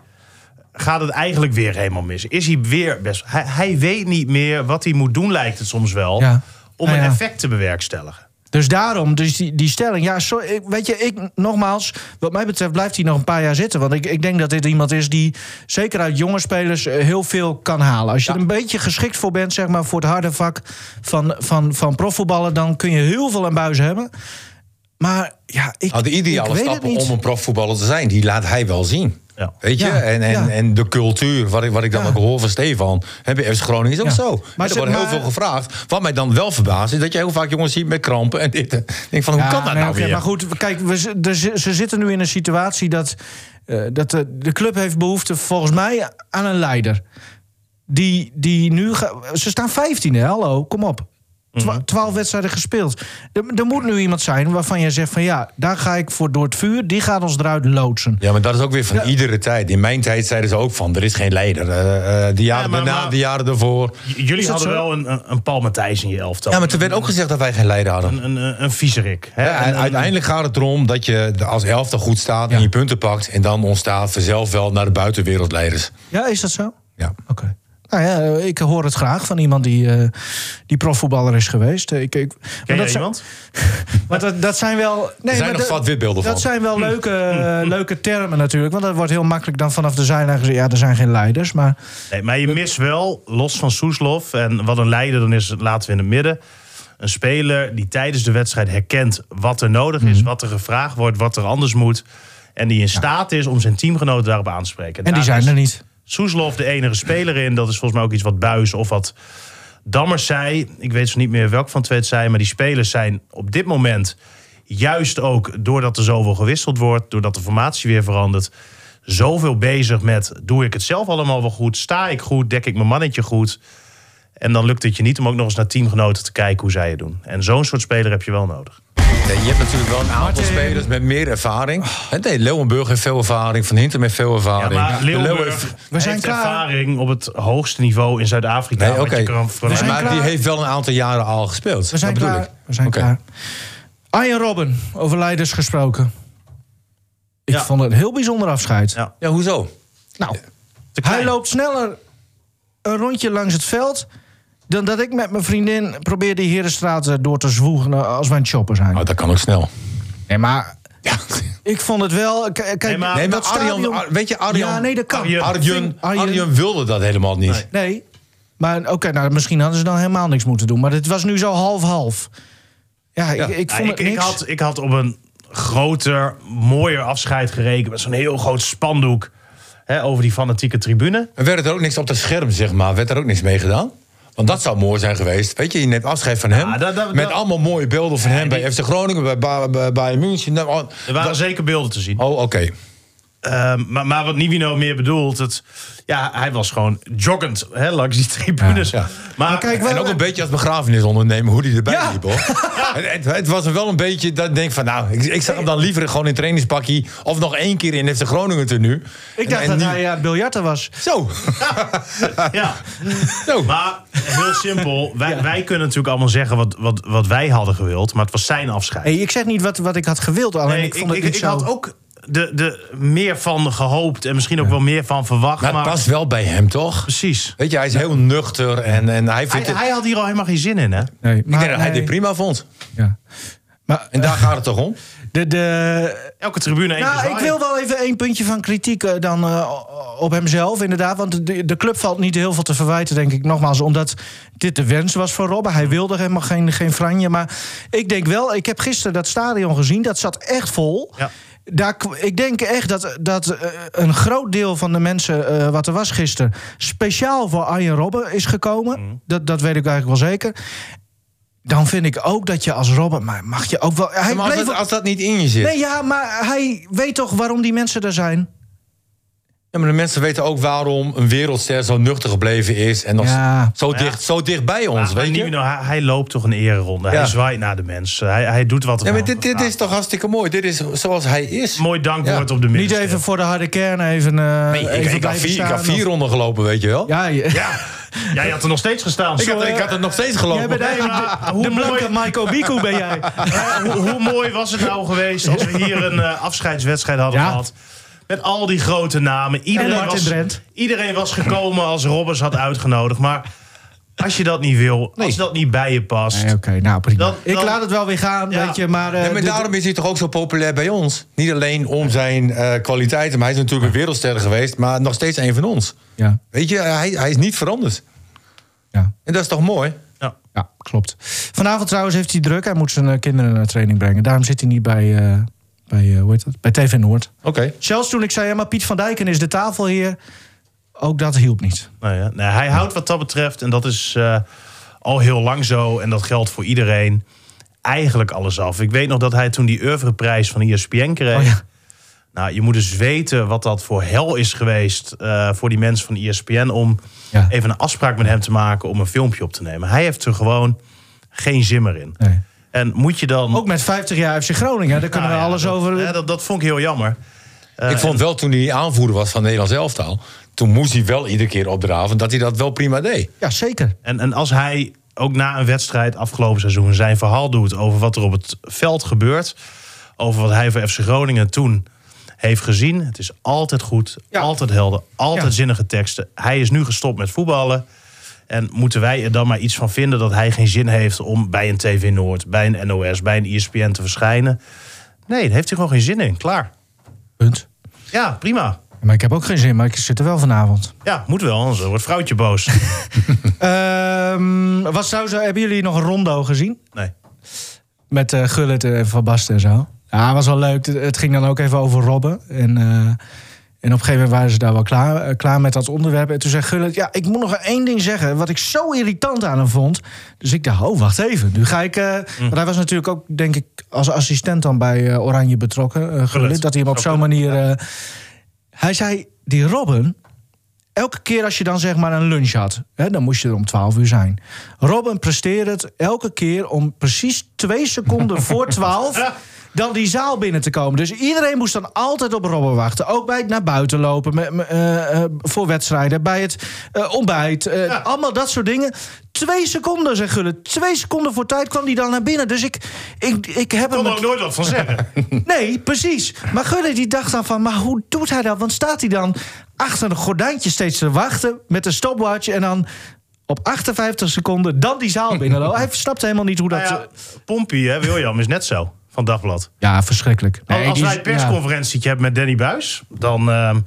gaat het eigenlijk weer helemaal mis. Is hij weer best... Hij, hij weet niet meer wat hij moet doen, lijkt het soms wel... Ja. om Nou een ja. effect te bewerkstelligen. Dus daarom, dus die, die stelling. Ja, sorry, ik- weet je, ik nogmaals, wat mij betreft blijft hij nog een paar jaar zitten. Want ik, ik denk dat dit iemand is die zeker uit jonge spelers eh, heel veel kan halen. Als je er een beetje geschikt voor bent, zeg maar, voor het harde vak van, van, van profvoetballen, dan kun je heel veel aan buizen hebben. Maar ja, ik. Nou, de ik ideale weet stappen het niet. om een profvoetballer te zijn, die laat hij wel zien. Ja. Weet je? Ja, en, en, ja. en de cultuur, wat ik, wat ik dan Ja. ook hoor van Stefan, hè, bij FC Groningen is ook Ja. zo. Maar Maar er zeg wordt heel maar- veel gevraagd. Wat mij dan wel verbaast, is dat je heel vaak jongens ziet met krampen en dit. Ik denk van, hoe Ja, kan dat nee, nou oké, weer? Maar goed, kijk, we, z- er zi- ze zitten nu in een situatie dat, eh, dat de, de club heeft behoefte, volgens mij, aan een leider. Die, die nu. ga- ze staan 15, hè? Hallo, kom op. Twa- Mhm. Twaalf wedstrijden gespeeld. Er, er moet nu iemand zijn waarvan je zegt: van ja, daar ga ik voor door het vuur, die gaat ons eruit loodsen. Ja, maar dat is ook weer van iedere tijd. In mijn tijd zeiden ze ook van, er is geen leider. Eh, eh, de jaren Ja, maar- daarna, maar- de jaren daarvoor. J- jullie dat hadden zo? wel een, een, een Paul Matthijs in je elftal. Ja, maar toen werd ook gezegd dat wij geen leider hadden. Een, een, een viezerik. Hè? Ja, Een- en een- uiteindelijk gaat het erom dat je de- als elftal goed staat en je punten pakt. En dan ontstaat vanzelf wel naar de buitenwereld leiders. Ja, is dat zo? Ja. Oké. Nou ja, ik hoor het graag van iemand die, eh, die profvoetballer is geweest. Ik, ik, Ken maar jij dat zijn- iemand? Maar dat, dat zijn wel. Nee, zijn maar nog dat- zwart-witbeelden Dat van. Hm. zijn wel leuke, eh, leuke termen natuurlijk. Want dat wordt heel makkelijk dan vanaf de zijlijn gezegd. Ja, er zijn geen leiders. Maar Nee, maar je mist wel, los van Soeslof en wat een leider dan is, laten we in het midden. Een speler die tijdens de wedstrijd herkent wat er nodig is, Mhm. wat er gevraagd wordt, wat er anders moet. En die in staat is om zijn teamgenoten daarop aan te spreken. en die Daar zijn is er niet. Soeslof de enige speler in. Dat is volgens mij ook iets wat Buis of wat Dammers zei. Ik weet zo niet meer welk van twee het zijn. Maar die spelers zijn op dit moment juist ook doordat er zoveel gewisseld wordt. Doordat de formatie weer verandert. Zoveel bezig met doe ik het zelf allemaal wel goed? Sta ik goed? Dek ik mijn mannetje goed? En dan lukt het je niet om ook nog eens naar teamgenoten te kijken hoe zij het doen. En zo'n soort speler heb je wel nodig. Nee, je hebt natuurlijk wel een aantal Martin. spelers met meer ervaring. En Nee, Leeuwenburg heeft veel ervaring. Van Hintem heeft veel Ja, ervaring. maar De Leeuwen heeft- Leeuwenburg We zijn heeft klaar. ervaring op het hoogste niveau in Zuid-Afrika. Nee, wat oké. Dus je kan verwachten. zijn maar klaar. die heeft wel een aantal jaren al gespeeld. We zijn dat bedoel klaar. ik. We zijn Oké. klaar. Arjen Robben, over leiders gesproken. Ik Ja. vond het een heel bijzonder afscheid. Ja. Ja, hoezo? Nou, Te klein. hij loopt sneller een rondje langs het veld... dan dat ik met mijn vriendin probeer die Herenstraat eh, door te zwoegen... als wij een chopper zijn. Nou, dat kan ook snel. Nee, maar Ja. ik vond het wel... k- Kijk, Nee, maar- Nee, maar dat Arjan, stadion- Ar- weet je, Arjan, Ja, nee, dat kan. Arjan- Arjen, Arjen- Arjen wilde dat helemaal niet. Nee. Nee, maar oké, nou, misschien hadden ze dan helemaal niks moeten doen. Maar het was nu zo half-half. Ja, Ja. ik, ik Ja, vond Nou, ik, het ik, niks. had, ik had op een groter, mooier afscheid gerekend. Met zo'n heel groot spandoek hè, over die fanatieke tribune. En werd er ook niks op het scherm, zeg maar? Werd er ook niks mee gedaan? Want dat zou mooi zijn geweest. Weet je, je neemt afscheid van hem. Ja, dat- dat- met dat- allemaal mooie beelden van hem bij FC Groningen, bij, Ba- bij, bij München. Nou, oh, Er waren dat- zeker beelden te zien. Oh, oké. Ehm, maar, maar wat Nivino meer bedoelt, het, ja, hij was gewoon joggend hè, langs die tribunes. Ja, ja. Maar, Nou, kijk, we- En ook een beetje als begrafenis ondernemen, hoe die erbij Ja. liep, hoor. En Het, het was wel een beetje dat ik denk van, nou, ik, ik zag hem dan liever gewoon in trainingspakkie... of nog één keer in FC Groningen tenue. Ik dacht En- en dat niet- hij aan het biljarten was. Zo, ja. Nou. zo. maar heel simpel, wij, wij kunnen natuurlijk allemaal zeggen wat, wat, wat wij hadden gewild. Maar het was zijn afscheid. Hey, ik zeg niet wat, wat ik had gewild, alleen Nee, ik vond het niet zo... had ook de, de meer van gehoopt en misschien ook wel meer van verwacht. Maar het maar Nou, past wel bij hem, toch? precies. Weet je, hij is heel nuchter en, en hij Hij, vindt het... hij had hier al helemaal geen zin in, hè? Nee, ik denk dat hij nee. dit prima vond. Ja. Maar En daar gaat het toch om? de, de, Elke tribune één nou, keer ik zwaaien. wil wel even één puntje van kritiek eh, dan eh, op hemzelf, inderdaad. Want de, de club valt niet heel veel te verwijten, denk ik. Nogmaals, omdat dit de wens was van Robben. Hij wilde helemaal geen, geen franje. Maar ik denk wel, ik heb gisteren dat stadion gezien. Dat zat echt vol. Ja. Daar, k- ik denk echt dat, dat eh, een groot deel van de mensen eh, wat er was gisteren... speciaal voor Arjen Robben is gekomen. Dat, dat weet ik eigenlijk wel zeker. Dan vind ik ook dat je als Robben... Maar mag je ook wel... Hij maar als, bleef dat, als dat niet in je zit... Nee, ja, maar hij weet toch waarom die mensen er zijn? Ja, maar de mensen weten ook waarom een wereldster zo nuchter gebleven is... en nog Ja. zo, Ja. dicht, zo dicht bij ons, Maar weet je? Nivino, hij, hij loopt toch een ereronde. Ja. Hij zwaait naar de mensen. Hij, hij doet wat er Ja, maar van dit, dit gaat. is toch hartstikke mooi. Dit is zoals hij is. Mooi dankwoord Ja. op de Niet middenstip. even voor de harde kern even. eh Nee, ik, even ik, had blijven vier, ik staan had vier of- ronden gelopen, weet je wel. Ja, je- Ja, jij had er nog steeds gestaan. ik, had, Sorry. ik had het nog steeds jij bent gelopen. eigenlijk de, maar hoe de mooi- blanke Michael Biku ben jij. Eh, hoe, hoe mooi was het nou geweest als we hier een eh, afscheidswedstrijd hadden Ja. gehad. Met al die grote namen. Iedereen Martin was, Drent. iedereen was gekomen als Robbers had uitgenodigd. Maar als je dat niet wil, als dat niet bij je past. Nee, Oké, nou prima. Dan- Ik dan- laat het wel weer gaan, Ja. weet je, maar... eh, Nee, maar dit- daarom is hij toch ook zo populair bij ons. Niet alleen om zijn eh, kwaliteiten, maar hij is natuurlijk een wereldster geweest, maar nog steeds een van ons. ja, Weet je, hij, hij is niet veranderd. ja, En dat is toch mooi? Ja. ja, klopt. Vanavond trouwens heeft hij druk. Hij moet zijn eh, kinderen naar training brengen. Daarom zit hij niet bij, eh, bij, eh, hoe heet dat? bij TV Noord. Oké. Zelfs toen ik zei, ja, maar Piet van Dijken is de tafelheer. Ook dat hielp niet. Nou ja, nee, hij houdt wat dat betreft, en dat is eh, al heel lang zo, en dat geldt voor iedereen, eigenlijk alles af. Ik weet nog dat hij toen die oeuvreprijs van E ESPN kreeg. Oh ja. Nou, je moet dus weten wat dat voor hel is geweest eh, voor die mensen van ESPN om Ja. even een afspraak met hem te maken om een filmpje op te nemen. Hij heeft er gewoon geen zin meer in. Nee. En moet je dan... Ook met 50 jaar FC Groningen, daar kunnen Nou we ja, alles dat- over... hè, dat, dat vond ik heel jammer. Eh, ik vond wel toen hij aanvoerder was van Nederlands elftal, toen moest hij wel iedere keer opdraven dat hij dat wel prima deed. Ja, zeker. En, en als hij ook na een wedstrijd afgelopen seizoen zijn verhaal doet over wat er op het veld gebeurt, over wat hij voor FC Groningen toen heeft gezien, het is altijd goed, Ja. altijd helder, altijd Ja. zinnige teksten. Hij is nu gestopt met voetballen. En moeten wij er dan maar iets van vinden dat hij geen zin heeft om bij een TV Noord, bij een NOS, bij een E ESPN te verschijnen? Nee, daar heeft hij gewoon geen zin in. Klaar. Punt. Ja, prima. Maar ik heb ook geen zin, maar ik zit er wel vanavond. Ja, moet wel, anders wordt vrouwtje boos. Ehm, wat zou zo, hebben jullie nog een rondo gezien? Nee. Met eh Gullit en Van Basten en zo. Ja, was wel leuk. Het- Het ging dan ook even over Robben. En, eh, en op een gegeven moment waren ze daar wel klaar, eh, klaar met dat onderwerp. En toen zei Gullit, ja, ik moet nog één ding zeggen... wat ik zo irritant aan hem vond. Dus ik dacht, oh, wacht even. Nu ga ik... eh, Want hij was natuurlijk ook, denk ik, als assistent dan bij eh, Oranje betrokken. eh, Gullit, Gullit. dat hij hem op Zo zo'n kunnen, manier... eh, hij zei, die Robben... elke keer als je dan zeg maar een lunch had, hè, dan moest je er om 12 uur zijn. Robin presteerde het elke keer om precies twee seconden voor 12 dan die zaal binnen te komen. Dus iedereen moest dan altijd op Robben wachten. Ook bij het naar buiten lopen met, met, eh, eh, voor wedstrijden, bij het eh, ontbijt. eh, Allemaal dat soort dingen. Twee seconden, zeg Gullit. Twee seconden voor tijd kwam die dan naar binnen. Dus ik, ik, ik heb Ik hem... kon er ook nooit wat van zeggen. Nee, precies. Maar Gullit die dacht dan van, maar hoe doet hij dat? Want staat hij dan achter een gordijntje steeds te wachten met een stopwatch... en dan op 58 seconden dan die zaal binnenlopen? hij snapt helemaal niet hoe dat... Nou ja, Pompey, hè, William, is net zo van Dagblad. Ja, verschrikkelijk. Als- Als wij een persconferentietje hebben met Danny Buis, dan ehm,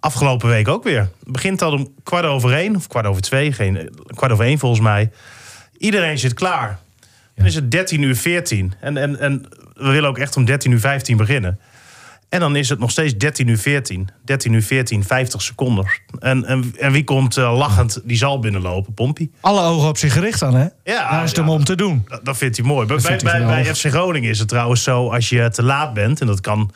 afgelopen week ook weer. Begint dat om kwart over één of kwart over twee, geen, eh, kwart over één volgens mij. Iedereen zit klaar. Dan is het 13 uur 14. En, en, en we willen ook echt om 13 uur 15 beginnen. En dan is het nog steeds 13 uur 14. 13 uur 14, 50 seconden. En, en, en wie komt eh, lachend die zaal binnenlopen? Pompie. Alle ogen op zich gericht dan, hè? Ja, Daar is het ja. hem om te doen. Dat, dat vindt hij mooi. Bij, bij, vindt hij bij, geweldig. bij FC Groningen is het trouwens zo, als je te laat bent... en dat kan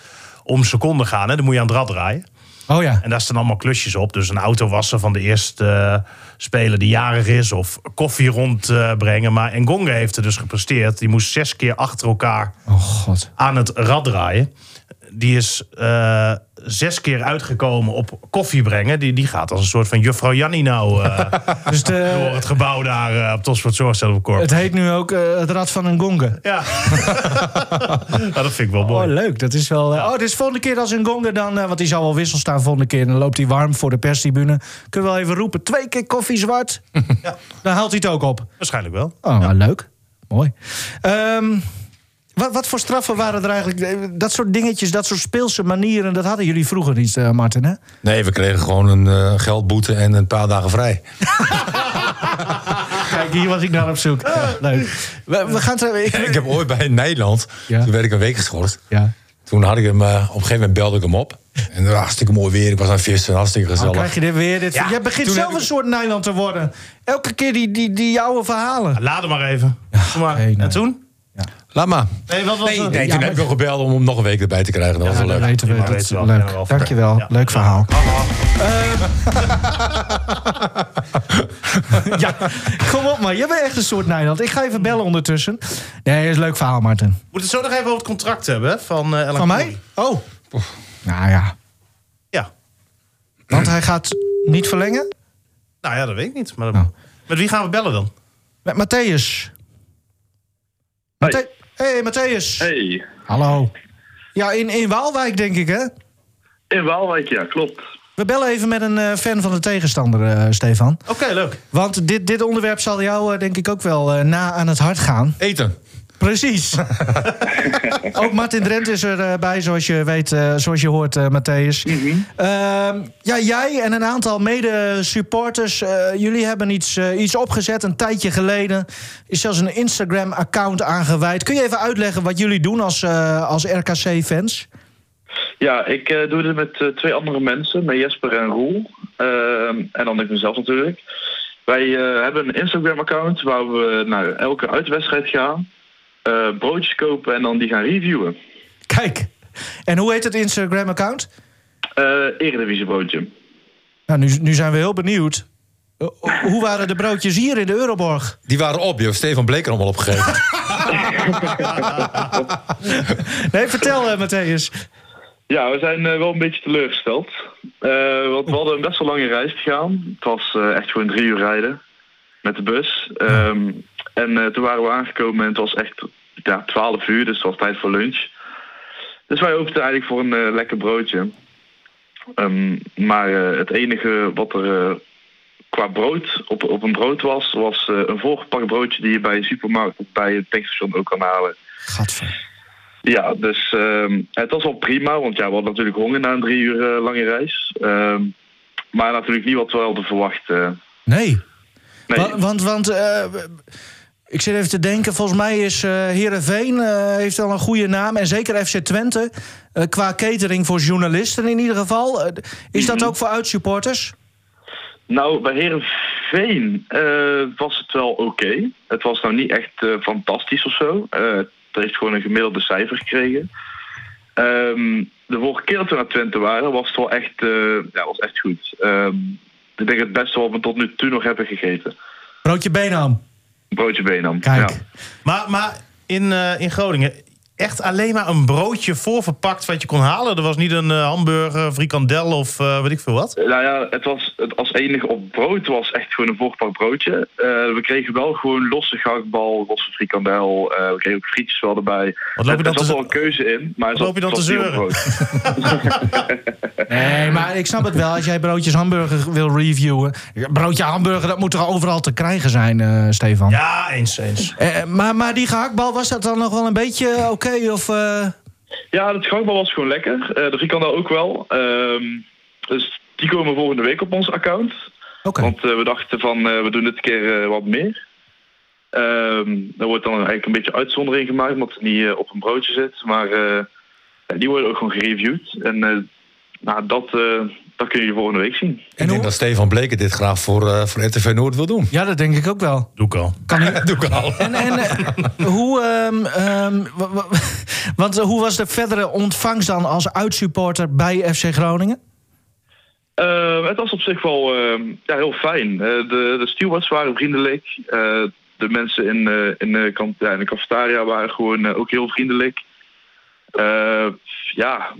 om seconden gaan, hè, dan moet je aan het rad draaien. Oh ja. En daar staan allemaal klusjes op. Dus een auto wassen van de eerste eh, speler die jarig is. Of koffie rondbrengen. maar Engonga heeft er dus gepresteerd. Die moest zes keer achter elkaar Oh god. aan het rad draaien. Die is eh, zes keer uitgekomen op koffie brengen. Die, die gaat als een soort van juffrouw Jannie nou... eh, Dus door de, het gebouw daar eh, op Topsport Zorgcentrum Corp. het heet nu ook eh, het Rad van een Gonge. Ja. Nou, dat vind ik wel Oh, mooi. leuk. Dat is wel. eh, Oh, dus volgende keer als een Gonge dan. eh, want die zal wel wissel staan volgende keer. Dan loopt hij warm voor de perstribune. Kunnen we wel even roepen: twee keer koffie zwart. Ja, Dan haalt hij het ook op. waarschijnlijk wel. Oh, nou, leuk. Mooi. Ehm, wat, wat voor straffen waren er eigenlijk? Eh, Dat soort dingetjes, dat soort speelse manieren. Dat hadden jullie vroeger niet, eh, Martin, hè? Nee, we kregen gewoon een eh, geldboete en een paar dagen vrij. Kijk, hier was ik naar op zoek. Ja, leuk. We, we gaan het. ik- Ik heb ooit bij Nederland, Ja. toen werd ik een week geschorst. Ja. Toen had ik hem, eh, op een gegeven moment belde ik hem op. En het was hartstikke mooi weer, ik was aan het vissen, hartstikke Dan gezellig. Oh, krijg je dit weer. Dit, Ja, jij begint toen zelf heb ik- een soort Nederland te worden. Elke keer die, die, die jouwe verhalen. Laat hem maar even. Doe maar. nee, nee. En toen? Laat maar. Nee, wat was Nee, er? nee, ja, toen maar- heb ik hem gebeld om hem nog een week erbij te krijgen. Dat was wel leuk. weten we. Ja, Dat weten is we wel. leuk. Ja, wel. Dankjewel. Ja. Leuk verhaal. Ja, kom op man. Jij bent echt een soort Nederland. Ik ga even bellen ondertussen. Nee, is een leuk verhaal, Martin. Moet het zo nog even over het contract hebben hè, van eh, Ellen Van Kooley. mij? Oh. Nou ja. Ja. Want hij gaat niet verlengen? Nou ja, dat weet ik niet. Maar Nou. Met wie gaan we bellen dan? Met Matthäus. Hey. Mathe- hey, Matthäus. Hey, Hallo. Ja, in, in Waalwijk denk ik, hè? in Waalwijk, ja, klopt. We bellen even met een eh, fan van de tegenstander, eh, Stefan. Oké, leuk. Want dit, dit onderwerp zal jou eh, denk ik ook wel eh, na aan het hart gaan. Eten. Precies. ook Martin Drent is erbij, bij, zoals je weet, eh, zoals je hoort, eh, Matthäus. Ehm, ja, jij en een aantal mede-supporters, eh, jullie hebben iets, eh, iets opgezet een tijdje geleden. Is zelfs een Instagram-account aangeweid. Kun je even uitleggen wat jullie doen als, eh, als RKC-fans? Ja, ik eh, doe dit met eh, twee andere mensen, met Jesper en Roel. Ehm, en dan ik mezelf natuurlijk. Wij eh, hebben een Instagram-account waar we naar elke uitwedstrijd gaan. eh, broodjes kopen en dan die gaan reviewen. Kijk. En hoe heet het Instagram-account? Eh Eredivisie broodje. Nou, nu, nu zijn we heel benieuwd. Eh, Hoe waren de broodjes hier in de Euroborg? Die waren op, je hebt Stefan Bleker allemaal opgegeven. Nee, vertel, eh, Matthäus. Ja, we zijn eh, wel een beetje teleurgesteld. Eh, want we hadden een best wel lange reis te gaan. Het was eh, echt gewoon drie uur rijden met de bus. Ehm, en eh, toen waren we aangekomen en het was echt ja, 12 uur, dus het was tijd voor lunch. Dus wij hoopten eigenlijk voor een eh, lekker broodje. Ehm, maar eh, het enige wat er eh, qua brood op, op een brood was, was eh, een voorgepakt broodje die je bij een supermarkt of bij het tankstation ook kan halen. Gadver. Ja, dus ehm, het was wel prima, want ja, we hadden natuurlijk honger na een drie uur eh, lange reis. Ehm, maar natuurlijk niet wat we hadden verwacht. eh. Nee. nee, Wa- Want, want eh, ik zit even te denken, volgens mij is eh Heerenveen eh, heeft al een goede naam. En zeker FC Twente, eh, qua catering voor journalisten in ieder geval. Eh, is Mhm. dat ook voor uitsupporters? Nou, bij Herenveen was het wel oké. Het was nou niet echt eh, fantastisch of zo. Eh, het heeft gewoon een gemiddelde cijfer gekregen. Ehm, de vorige keer dat we naar Twente waren, was het wel echt, eh, ja, was echt goed. Ehm, ik denk het beste wat we tot nu toe nog hebben gegeten. Broodje Benam. Broodje benam. Kijk. Ja. Maar, maar in, eh, in Groningen, echt alleen maar een broodje voorverpakt wat je kon halen. Er was niet een eh, hamburger, frikandel of eh weet ik veel wat. Nou ja, het was het als enige op brood was echt gewoon een voorpak broodje. Eh, we kregen wel gewoon losse gehaktbal, losse frikandel. eh, we kregen ook frietjes wel erbij. Wat loop je dan er te zat ze- wel een keuze in, maar het Wat zat- loop je dan het te zat niet op brood. Nee, maar ik snap het wel. Als jij broodjes hamburger wil reviewen. Broodje hamburger, dat moet toch overal te krijgen zijn, eh, Stefan? Ja, eens, eens. Eh, maar, maar die gehaktbal, was dat dan nog wel een beetje oké? of, eh, Ja, het gehaktbal was gewoon lekker. Eh, de frikandel ook wel. Ehm, dus die komen volgende week op ons account. Oké. Want eh, we dachten van, eh, we doen dit keer eh, wat meer. Ehm er wordt dan eigenlijk een beetje uitzondering gemaakt, omdat het niet eh, op een broodje zit. Maar eh, ja, die worden ook gewoon gereviewd. En eh, nou, dat, eh, dat kun je volgende week zien. Ik hoe- denk dat Stefan Bleken dit graag voor, eh, voor RTV Noord wil doen. Ja, dat denk ik ook wel. Doe ik al. Dat doe ik al. En, en eh, hoe, ehm, ehm, wa- wa- want, eh, hoe was de verdere ontvangst dan als uitsupporter bij FC Groningen? Eh, het was op zich wel eh, ja, heel fijn. Eh, de, de stewards waren vriendelijk. Eh, de mensen in, eh, in, de kant, ja, in de cafetaria waren gewoon eh, ook heel vriendelijk. Eh, ja,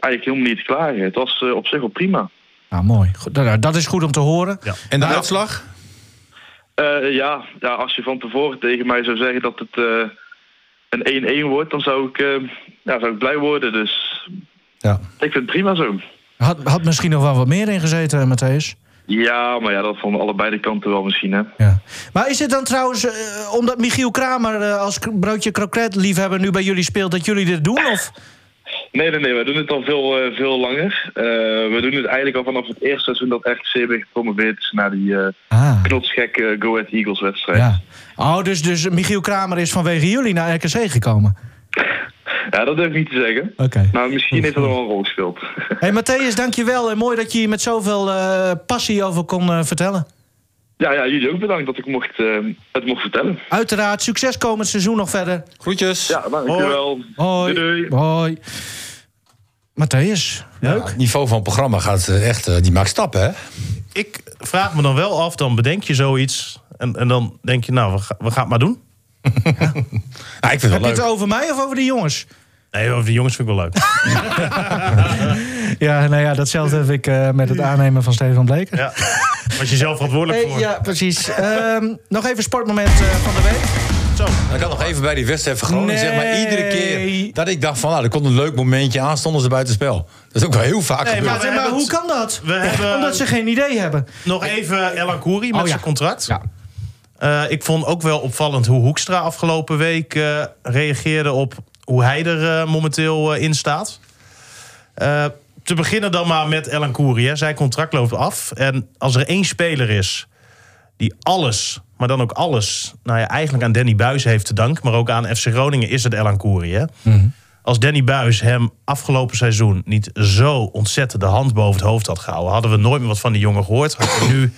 eigenlijk helemaal niet te klagen. Het was eh, op zich wel prima. Nou, mooi. Goed, nou, dat is goed om te horen. Ja. En de uitslag? Eh, ja, ja, als je van tevoren tegen mij zou zeggen dat het eh, een 1-1 wordt, dan zou ik, eh, ja, zou ik blij worden. Dus Ja. ik vind het prima zo. Had, had misschien nog wel wat meer in gezeten, eh, Matthijs. Ja, maar ja, dat van allebei de kanten wel misschien. Hè. Ja. Maar is het dan trouwens, eh, omdat Michiel Kramer eh, als k- broodje kroket liefhebber nu bij jullie speelt, dat jullie dit doen? Of? Nee, nee, nee. We doen het al veel, eh, veel langer. Eh, we doen het eigenlijk al vanaf het eerste seizoen dat RKC weer gepromoveerd is naar die eh Ah, knotsgekke Go Ahead Eagles wedstrijd. Ja. ja. Oh, dus, dus Michiel Kramer is vanwege jullie naar RKC gekomen. dat durf ik niet te zeggen. Oké. Maar misschien heeft dat Oh, wel een rol gespeeld. Hey Matthäus, dankjewel. En mooi dat je hier met zoveel eh, passie over kon eh, vertellen. ja, ja, jullie ook bedankt dat ik mocht, eh, het mocht vertellen. Uiteraard, succes komend seizoen nog verder. Groetjes. Ja, dankjewel. Hoi. Doei, doei. Hoi. Matthäus. Ja, het niveau van het programma gaat eh, echt, eh, die maakt stappen, hè? Ik vraag me dan wel af, dan bedenk je zoiets. En, en dan denk je, nou, we, ga- we gaan het maar doen. Ja, ik vind het Heb je wel het leuk. over mij of over de jongens? Nee, over de jongens vind ik wel leuk. Ja, nou ja, datzelfde heb ik eh, met het aannemen van Stefan Bleker. Ja. Was je zelf verantwoordelijk Hey, voor. ja, precies. Ehm, nog even sportmoment eh, van de week. Zo. Dan kan nog even bij die wedstrijd van Groningen. Zeg maar Nee. iedere keer dat ik dacht van, nou, er komt een leuk momentje aan, stonden ze buiten spel. Dat is ook wel heel vaak Nee, gebeurd. Maar, we maar hebben hoe het- kan dat? we hebben- Omdat ze geen idee hebben. Nog even El Akouri met Oh, ja. zijn contract. Ja. Eh, ik vond ook wel opvallend hoe Hoekstra afgelopen week eh, reageerde op hoe hij er eh, momenteel eh, in staat. Eh, te beginnen dan maar met Elan Koeri. Zijn contract loopt af. En als er één speler is die alles, maar dan ook alles, nou ja, eigenlijk aan Danny Buis heeft te danken, maar ook aan FC Groningen, is het Elan Koeri. hè? Als Danny Buis hem afgelopen seizoen niet zo ontzettend de hand boven het hoofd had gehouden, hadden we nooit meer wat van die jongen gehoord. Had hij nu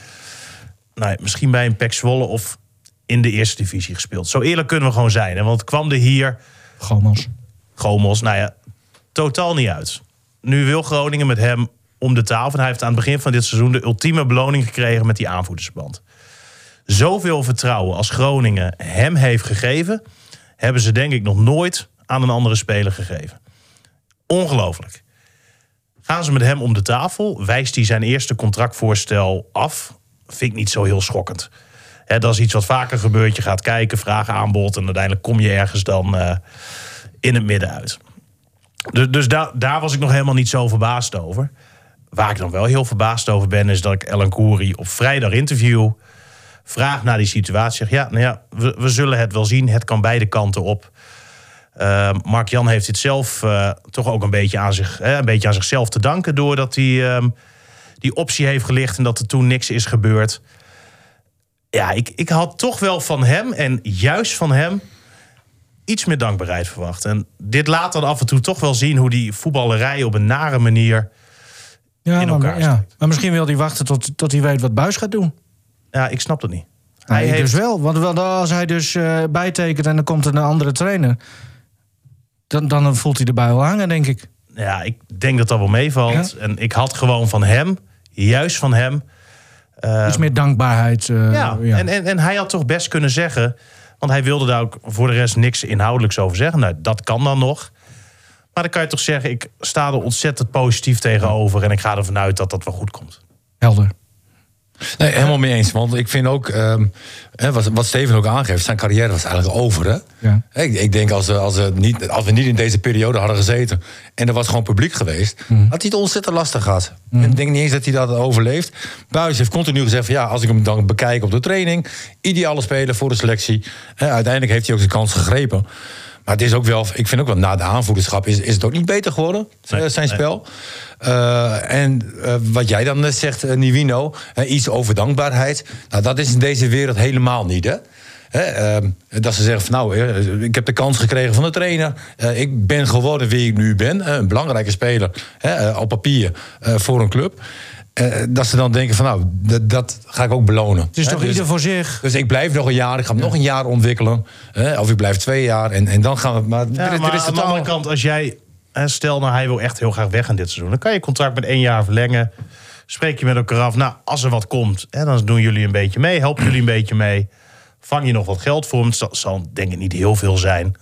nou, ja, misschien bij een Pek Zwolle of in de eerste divisie gespeeld. Zo eerlijk kunnen we gewoon zijn. Hè? Want kwam er hier Gomans. Gomos, nou ja, totaal niet uit. Nu wil Groningen met hem om de tafel. En hij heeft aan het begin van dit seizoen de ultieme beloning gekregen met die aanvoerdersband. Zoveel vertrouwen als Groningen hem heeft gegeven, hebben ze denk ik nog nooit aan een andere speler gegeven. Ongelooflijk. Gaan ze met hem om de tafel, wijst hij zijn eerste contractvoorstel af. Vind ik niet zo heel schokkend. Hè, dat is iets wat vaker gebeurt. Je gaat kijken, vraag aanbod en uiteindelijk kom je ergens dan eh, in het midden uit. Dus, dus daar- daar was ik nog helemaal niet zo verbaasd over. Waar ik dan wel heel verbaasd over ben, is dat ik Ellen Koeri op vrijdag interview. Vraag naar die situatie. Zeg, ja, nou ja, we, we zullen het wel zien. Het kan beide kanten op. Eh, Mark Jan heeft dit zelf eh, toch ook een beetje, aan zich, hè, een beetje aan zichzelf te danken. Doordat hij ehm, die optie heeft gelicht en dat er toen niks is gebeurd. Ja, ik, ik had toch wel van hem en juist van hem iets meer dankbaarheid verwacht. En dit laat dan af en toe toch wel zien hoe die voetballerij op een nare manier. Ja, In maar, elkaar ja. steekt. maar misschien wil hij wachten tot, tot hij weet wat Buis gaat doen. Ja, ik snap dat niet. Hij Hij heeft- dus wel. Want wel- als hij dus eh, bijtekent en dan komt er een andere trainer... Dan, dan voelt hij de bui al hangen, denk ik. dus- Ja, ik denk dat dat wel meevalt. En ik had gewoon van hem, juist van hem, Eh, Iets meer dankbaarheid. eh, ja, En, en, en hij had toch best kunnen zeggen. Want hij wilde daar ook voor de rest niks inhoudelijks over zeggen. Nou, dat kan dan nog. Maar dan kan je toch zeggen: ik sta er ontzettend positief tegenover. En ik ga ervan uit dat dat wel goed komt. Helder. Nee, helemaal mee eens. Want ik vind ook, ehm, hè, wat, wat Steven ook aangeeft, zijn carrière was eigenlijk over. Hè? Ja. Hè, Ik, ik denk als, we- als, we niet, als we niet in deze periode hadden gezeten en er was gewoon publiek geweest, Mhm. had hij het ontzettend lastig gehad. Ik denk niet eens dat hij dat overleeft. Buis heeft continu gezegd: van, ja, als ik hem dan bekijk op de training, ideale speler voor de selectie. Hè, uiteindelijk heeft hij ook zijn kans gegrepen. Maar het is ook wel, ik vind ook wel na de aanvoederschap is, is het ook niet beter geworden, Nee, eh, zijn nee. spel. Eh, en eh, wat jij dan net zegt, eh, Nivino, hè, iets over dankbaarheid. Nou, dat is in deze wereld helemaal niet, hè? Hè, ehm, dat ze zeggen van nou, eh, ik heb de kans gekregen van de trainer. Eh, ik ben geworden wie ik nu ben. Eh, een belangrijke speler hè, eh, op papier eh, voor een club. Eh, dat ze dan denken van nou, dat- dat ga ik ook belonen. Het is toch dus, ieder voor zich. dus ik blijf nog een jaar, ik ga hem nog een jaar ontwikkelen. Hè, of ik blijf twee jaar en, en dan gaan we... Maar, Ja, er, is- maar er is aan de totaal- andere kant, als jij... hè, Stel nou, hij wil echt heel graag weg in dit seizoen. Dan kan je contract met één jaar verlengen. Spreek je met elkaar af. Nou, als er wat komt, hè, dan doen jullie een beetje mee. Helpen jullie een beetje mee. Vang je nog wat geld voor hem. Het zal, zal denk ik niet heel veel zijn.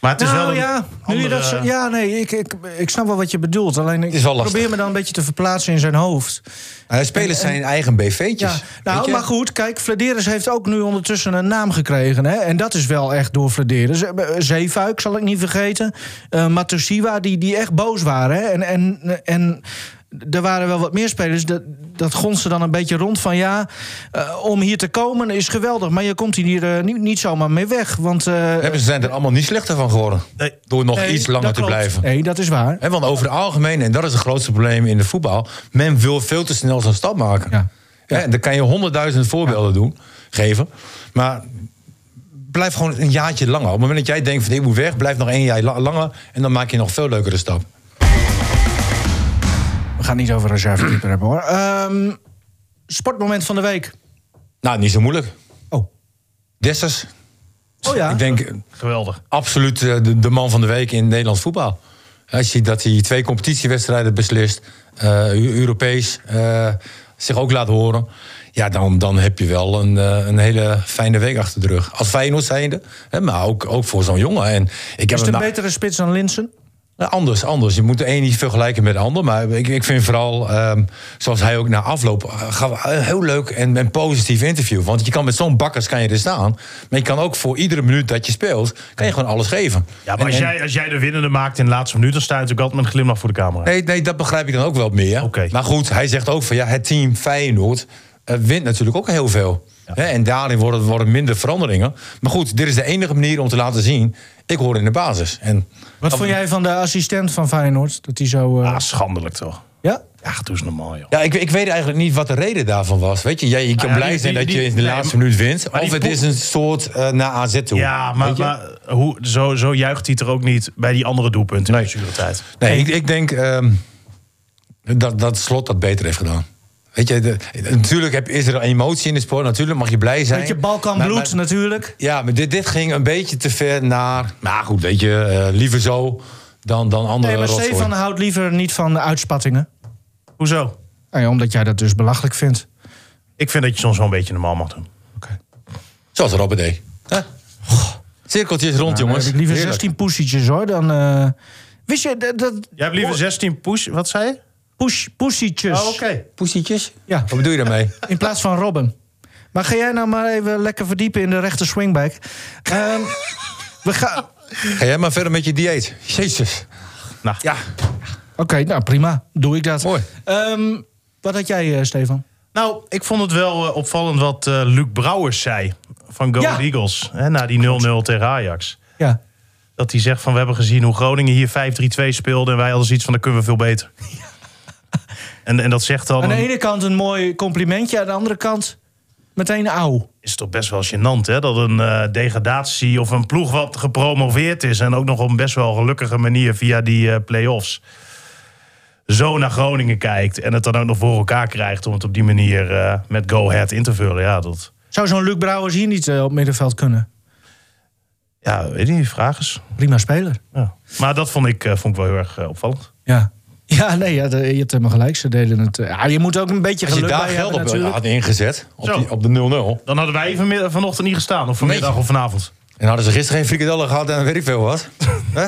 Maar het is nou wel een ja, nu je andere- dat zo- ja, nee, ik, ik, ik snap wel wat je bedoelt. Alleen ik is wel lastig. probeer me dan een beetje te verplaatsen in zijn hoofd. Nou, spelers zijn eigen Ja, BV'tjes. weet nou, je? maar goed, kijk, Flederis heeft ook nu ondertussen een naam gekregen. Hè? En dat is wel echt door Flederis. Eh, eh, Zeefuik zal ik niet vergeten. Eh Matusiwa, die, die echt boos waren. Hè? En, en, eh, en er waren wel wat meer spelers. Dat, dat gonste dan een beetje rond van... ja, eh, om hier te komen is geweldig... maar je komt hier eh, niet, niet zomaar mee weg. Want, eh, Hebben ze zijn er allemaal niet slechter van geworden. Nee. Door nog Nee, iets langer dat te klopt. blijven. nee, dat is waar. Hè, want over het algemeen, en dat is het grootste probleem in de voetbal... men wil veel te snel zo'n stap maken. Ja. Hè, en dan kan je honderdduizend voorbeelden doen, geven. Maar blijf gewoon een jaartje langer. Op het moment dat jij denkt, van, ik moet weg, blijf nog één jaar la- langer... en dan maak je nog veel leukere stap. We gaan het niet over reservekeeper hebben, hoor. Ehm, sportmoment van de week. Nou, niet zo moeilijk. Oh. Dessers, Oh ja. ik denk Geweldig. absoluut eh, de, de man van de week in Nederlands voetbal. Als je ziet dat hij twee competitiewedstrijden beslist, eh, Eu- Europees, eh, zich ook laat horen. Ja, dan, dan heb je wel een, eh, een hele fijne week achter de rug. Als Feyenoord zijnde, hè, maar ook, ook voor zo'n jongen. En ik is het heb hem een na- betere spits dan Linsen? nou, Anders, anders. Je moet de een niet vergelijken met de ander. Maar ik, ik vind vooral, ehm, zoals hij ook na afloop... eh, gaf een heel leuk en, en positief interview. Want je kan met zo'n bakkers kan je er staan. Maar je kan ook voor iedere minuut dat je speelt... kan je gewoon alles geven. Ja, maar En- als, en- jij, als jij de winnende maakt in de laatste minuut... dan sta je natuurlijk altijd met een glimlach voor de camera. Nee, nee, dat begrijp ik dan ook wel meer. Oké. Maar goed, hij zegt ook van ja, het team Feyenoord eh, wint natuurlijk ook heel veel. Hè, en daarin worden, worden minder veranderingen. Maar goed, dit is de enige manier om te laten zien... ik hoor in de basis. En Wat vond jij van de assistent van Feyenoord? Dat hij zo... eh, Ah, schandelijk toch. ja? Ja, doe eens normaal, joh. Ja, ik, ik weet eigenlijk niet wat de reden daarvan was. Weet je, jij, je kan ja, blij die- zijn die- dat je die- in de nee, laatste maar- minuut wint. maar Of die het pop- is een soort eh, naar AZ toe. Ja, maar, Weet je? maar hoe, zo, zo juicht hij het er ook niet bij die andere doelpunten in de zure tijd. Nee, ik, ik denk ehm, dat, dat Slot dat beter heeft gedaan. Weet je, de- natuurlijk heb, is er emotie in de sport. Natuurlijk mag je blij zijn. Beetje Balkanbloed Maar- maar- natuurlijk. Ja, maar dit, dit ging een beetje te ver naar... Maar goed, weet je, eh, liever zo dan, dan andere Nee, maar rotzooi. Stefan houdt liever niet van uitspattingen. Hoezo? Nou ja, omdat jij dat dus belachelijk vindt. Ik vind dat je soms wel een beetje normaal mag doen. Zoals Robert deed. Huh? Cirkeltjes rond, Nou, Dan jongens. heb ik liever Heerlijk. 16 poesietjes hoor. Dan, eh, wist je dat... dat Jij hebt liever 16 push, wat zei je? push, poesietjes. Oh, oké. Poesietjes? Ja. Wat bedoel je daarmee? In plaats van Robben. Maar ga jij nou maar even lekker verdiepen in de rechter swingback. Ehm, we gaan... Oké, Ga jij maar verder met je dieet. Jezus. Nou, Ja, nou prima. Doe ik dat. Mooi. Ehm, wat had jij, eh, Stefan? nou, ik vond het wel eh, opvallend wat eh, Luc Brouwers zei van Go Ja. Ahead Eagles. Hè, na die 0-0 tegen Ajax. Ja. Dat hij zegt van we hebben gezien hoe Groningen hier 5-3-2 speelde. En wij hadden zoiets van dat kunnen we veel beter. En, en dat zegt dan, Aan de een- ene kant een mooi complimentje, aan de andere kant meteen auw. is het toch best wel gênant hè? dat een eh, degradatie of een ploeg wat gepromoveerd is... en ook nog op een best wel gelukkige manier via die eh play-offs... zo naar Groningen kijkt en het dan ook nog voor elkaar krijgt... om het op die manier eh, met Go Ahead in te vullen. Ja, dat Zou zo'n Luc Brouwers hier niet eh, op middenveld kunnen? ja, weet je, vraag eens. Prima speler. Ja. Maar dat vond ik, eh, vond ik wel heel erg eh, opvallend. Ja. Ja, nee, ja, de- je hebt helemaal gelijk. Ze deden het. eh, Ja, je moet ook een beetje Als je geluk daar bij geld hebben op natuurlijk. had ingezet, op, Zo. die- op de 0-0... Dan hadden wij vanmiddag, vanochtend niet gestaan. Of vanmiddag Nee. of vanavond. en hadden ze gisteren geen frikadellen gehad en weet ik veel wat. Hè?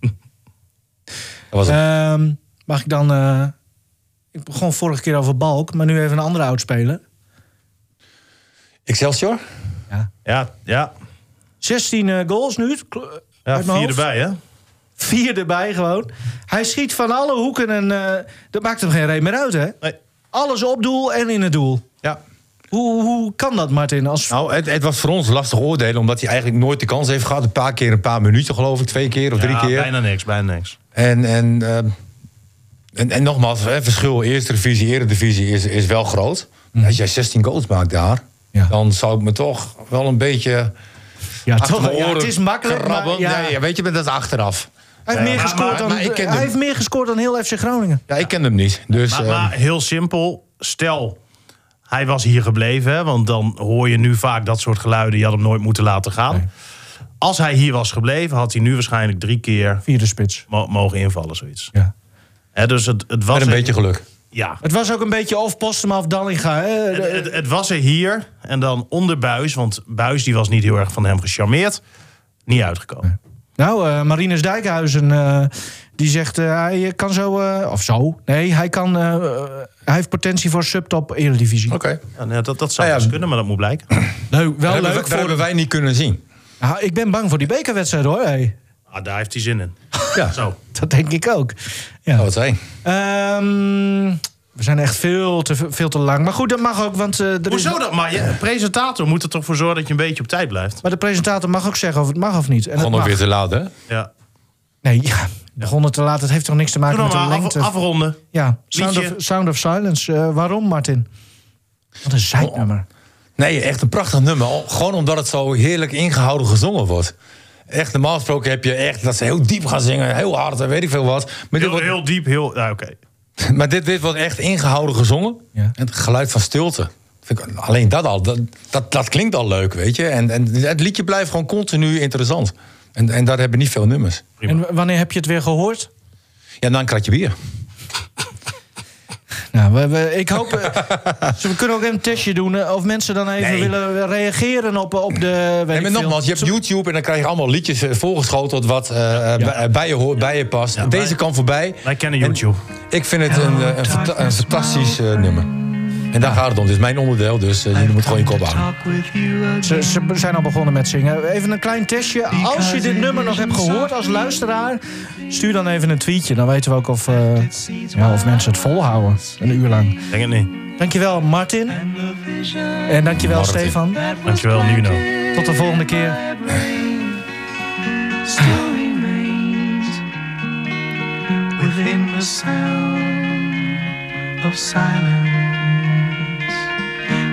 Dat was het. Ehm, mag ik dan... eh, ik begon vorige keer over Balk, maar nu even een andere oudspeler. Excelsior? Ja, ja. 16 eh, goals nu. het kl- ja uit mijn vier hoofd. erbij, hè? Vier erbij gewoon. Hij schiet van alle hoeken en eh, dat maakt hem geen reet meer uit, hè? Nee. Alles op doel en in het doel. Ja. Hoe, hoe kan dat, Martin? Als... Nou, het, het was voor ons lastig oordelen, omdat hij eigenlijk nooit de kans heeft gehad. Een paar keer, een paar minuten geloof ik, twee keer of drie Ja, keer. Bijna niks, bijna niks. En, en, ehm, en, en nogmaals, hè, verschil eerste divisie, eredivisie is, is wel groot. Als jij 16 goals maakt daar, Ja. dan zou ik me toch wel een beetje Ja, achter toch, mijn ja, oren het is makkelijk, maar krabben. ja. Nee, weet je, maar dat is achteraf. Hij heeft, meer, maar- gescoord maar- dan, maar ik ken hij hem. heeft meer gescoord dan heel FC Groningen. Ja, ik ken hem niet. Dus, Maar, ehm, maar heel simpel, stel hij was hier gebleven, hè, want dan hoor je nu vaak dat soort geluiden. Je had hem nooit moeten laten gaan. Als hij hier was gebleven, had hij nu waarschijnlijk drie keer Vierde spits. mo- mogen invallen, zoiets. Ja. Hè, dus het, het was met een beetje geluk. Ja. Het was ook een beetje of Postema of Dallinga. hè? De- Het, het, het was er hier en dan onder Buis, want Buis die was niet heel erg van hem gecharmeerd. Niet uitgekomen. Nou, eh Marinus Dijkhuizen, eh, die zegt eh, hij kan zo, eh, of zo, nee, hij, kan, eh, eh, hij heeft potentie voor subtop Eredivisie. Oké. Ja, nee, dat, dat zou Nou ja, dus kunnen, maar dat moet blijken. Leuk, wel Daar leuk. hebben we- daar hebben wij niet kunnen zien. Ja, ik ben bang voor die bekerwedstrijd hoor. Hey. Ah, daar heeft hij zin in. Ja, Zo. Dat denk ik ook. Ja. dat was hij. Ehm, we zijn echt veel te, veel te lang. Maar goed, dat mag ook, want eh, er is- Hoezo dat? Maar je presentator moet er toch voor zorgen dat je een beetje op tijd blijft. Maar de presentator mag ook zeggen of het mag of niet. En het Gewoon ook mag. weer te laat, hè? Ja. Nee, ja, begonnen te laat. Het heeft toch niks te Doe maken dan met de maar af- lengte. afronden. ja, Sound of, Liedje. Sound of Silence. Eh, waarom, Martin? Wat een zijnummer. Oh, Nee, echt een prachtig nummer. O- Gewoon omdat het zo heerlijk ingehouden gezongen wordt. Echt, normaal gesproken heb je echt dat ze heel diep gaan zingen, heel hard en weet ik veel wat. Maar dit Heel, wordt, heel diep, heel... Ja, oké. maar dit, dit wordt echt ingehouden gezongen. Ja. En het geluid van stilte. Vind ik, alleen dat al, dat, dat, dat klinkt al leuk, weet je. En, en het liedje blijft gewoon continu interessant. En, en daar hebben niet veel nummers. oh, Prima. En w- wanneer heb je het weer gehoord? Ja, dan een kratje bier. Nou, we, we- ik hoop... eh, we kunnen ook even een testje doen. eh, Of mensen dan even Nee. willen reageren op, op de... Weet ik En maar veel. nogmaals, je hebt YouTube en dan krijg je allemaal liedjes eh, voorgeschoteld wat eh, bij, bij je hoort, bij je past. Deze kan voorbij. Wij kennen YouTube. Ik vind het een, eh, een, fanta- een fantastisch eh, nummer. En daar gaat het om. Dit is mijn onderdeel, dus eh, je moet gewoon je kop houden. Ze, ze zijn al begonnen met zingen. Even een klein testje. Als je dit nummer nog hebt gehoord als luisteraar, stuur dan even een tweetje. Dan weten we ook of, eh, ja, of mensen het volhouden. Een uur lang. Ik Denk het niet. Dankjewel, Martin. En dankjewel, Martin. Stefan. Dankjewel, Nuno. Tot de volgende keer. Still remains within the sound of silence.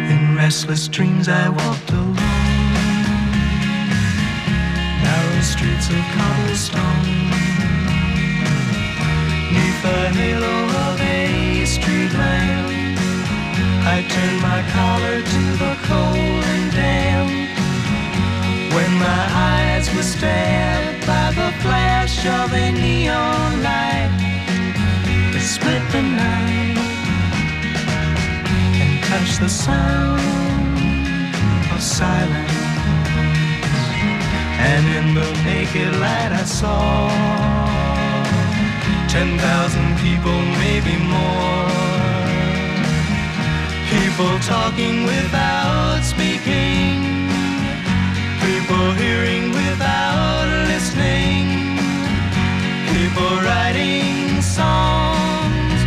In restless dreams, I walked alone. Narrow streets of cobblestone. Neath the halo of a street lamp, I turned my collar to the cold and damp when my eyes were stabbed by the flash of a neon light that split the night and touched the sound of silence. And in the naked light, I saw 10,000 people, maybe more. People talking without speaking. People hearing without listening. People writing songs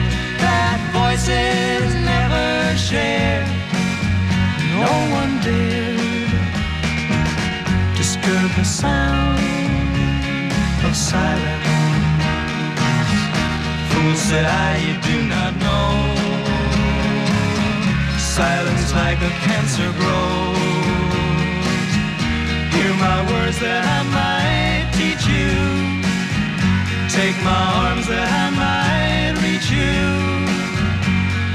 that voices never share. No one dared disturb the sound of silence. Fool said I, you do not know. Silence like a cancer grows. Hear my words that I might teach you. Take my arms that I might reach you.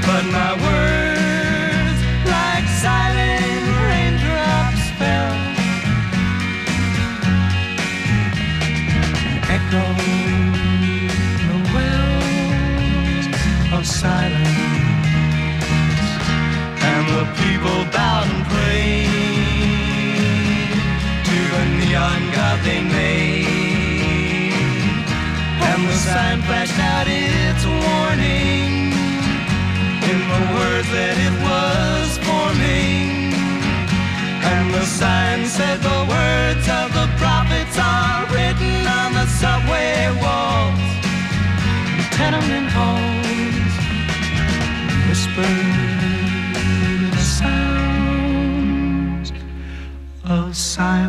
But my words, like silent raindrops, fell. Echoed in the well. the people bowed and prayed to the neon god they made. And the sign flashed out its warning in the words that it was forming. And the sign said the words of the prophets are written on the subway walls, tenement halls, whispered the sounds of silence.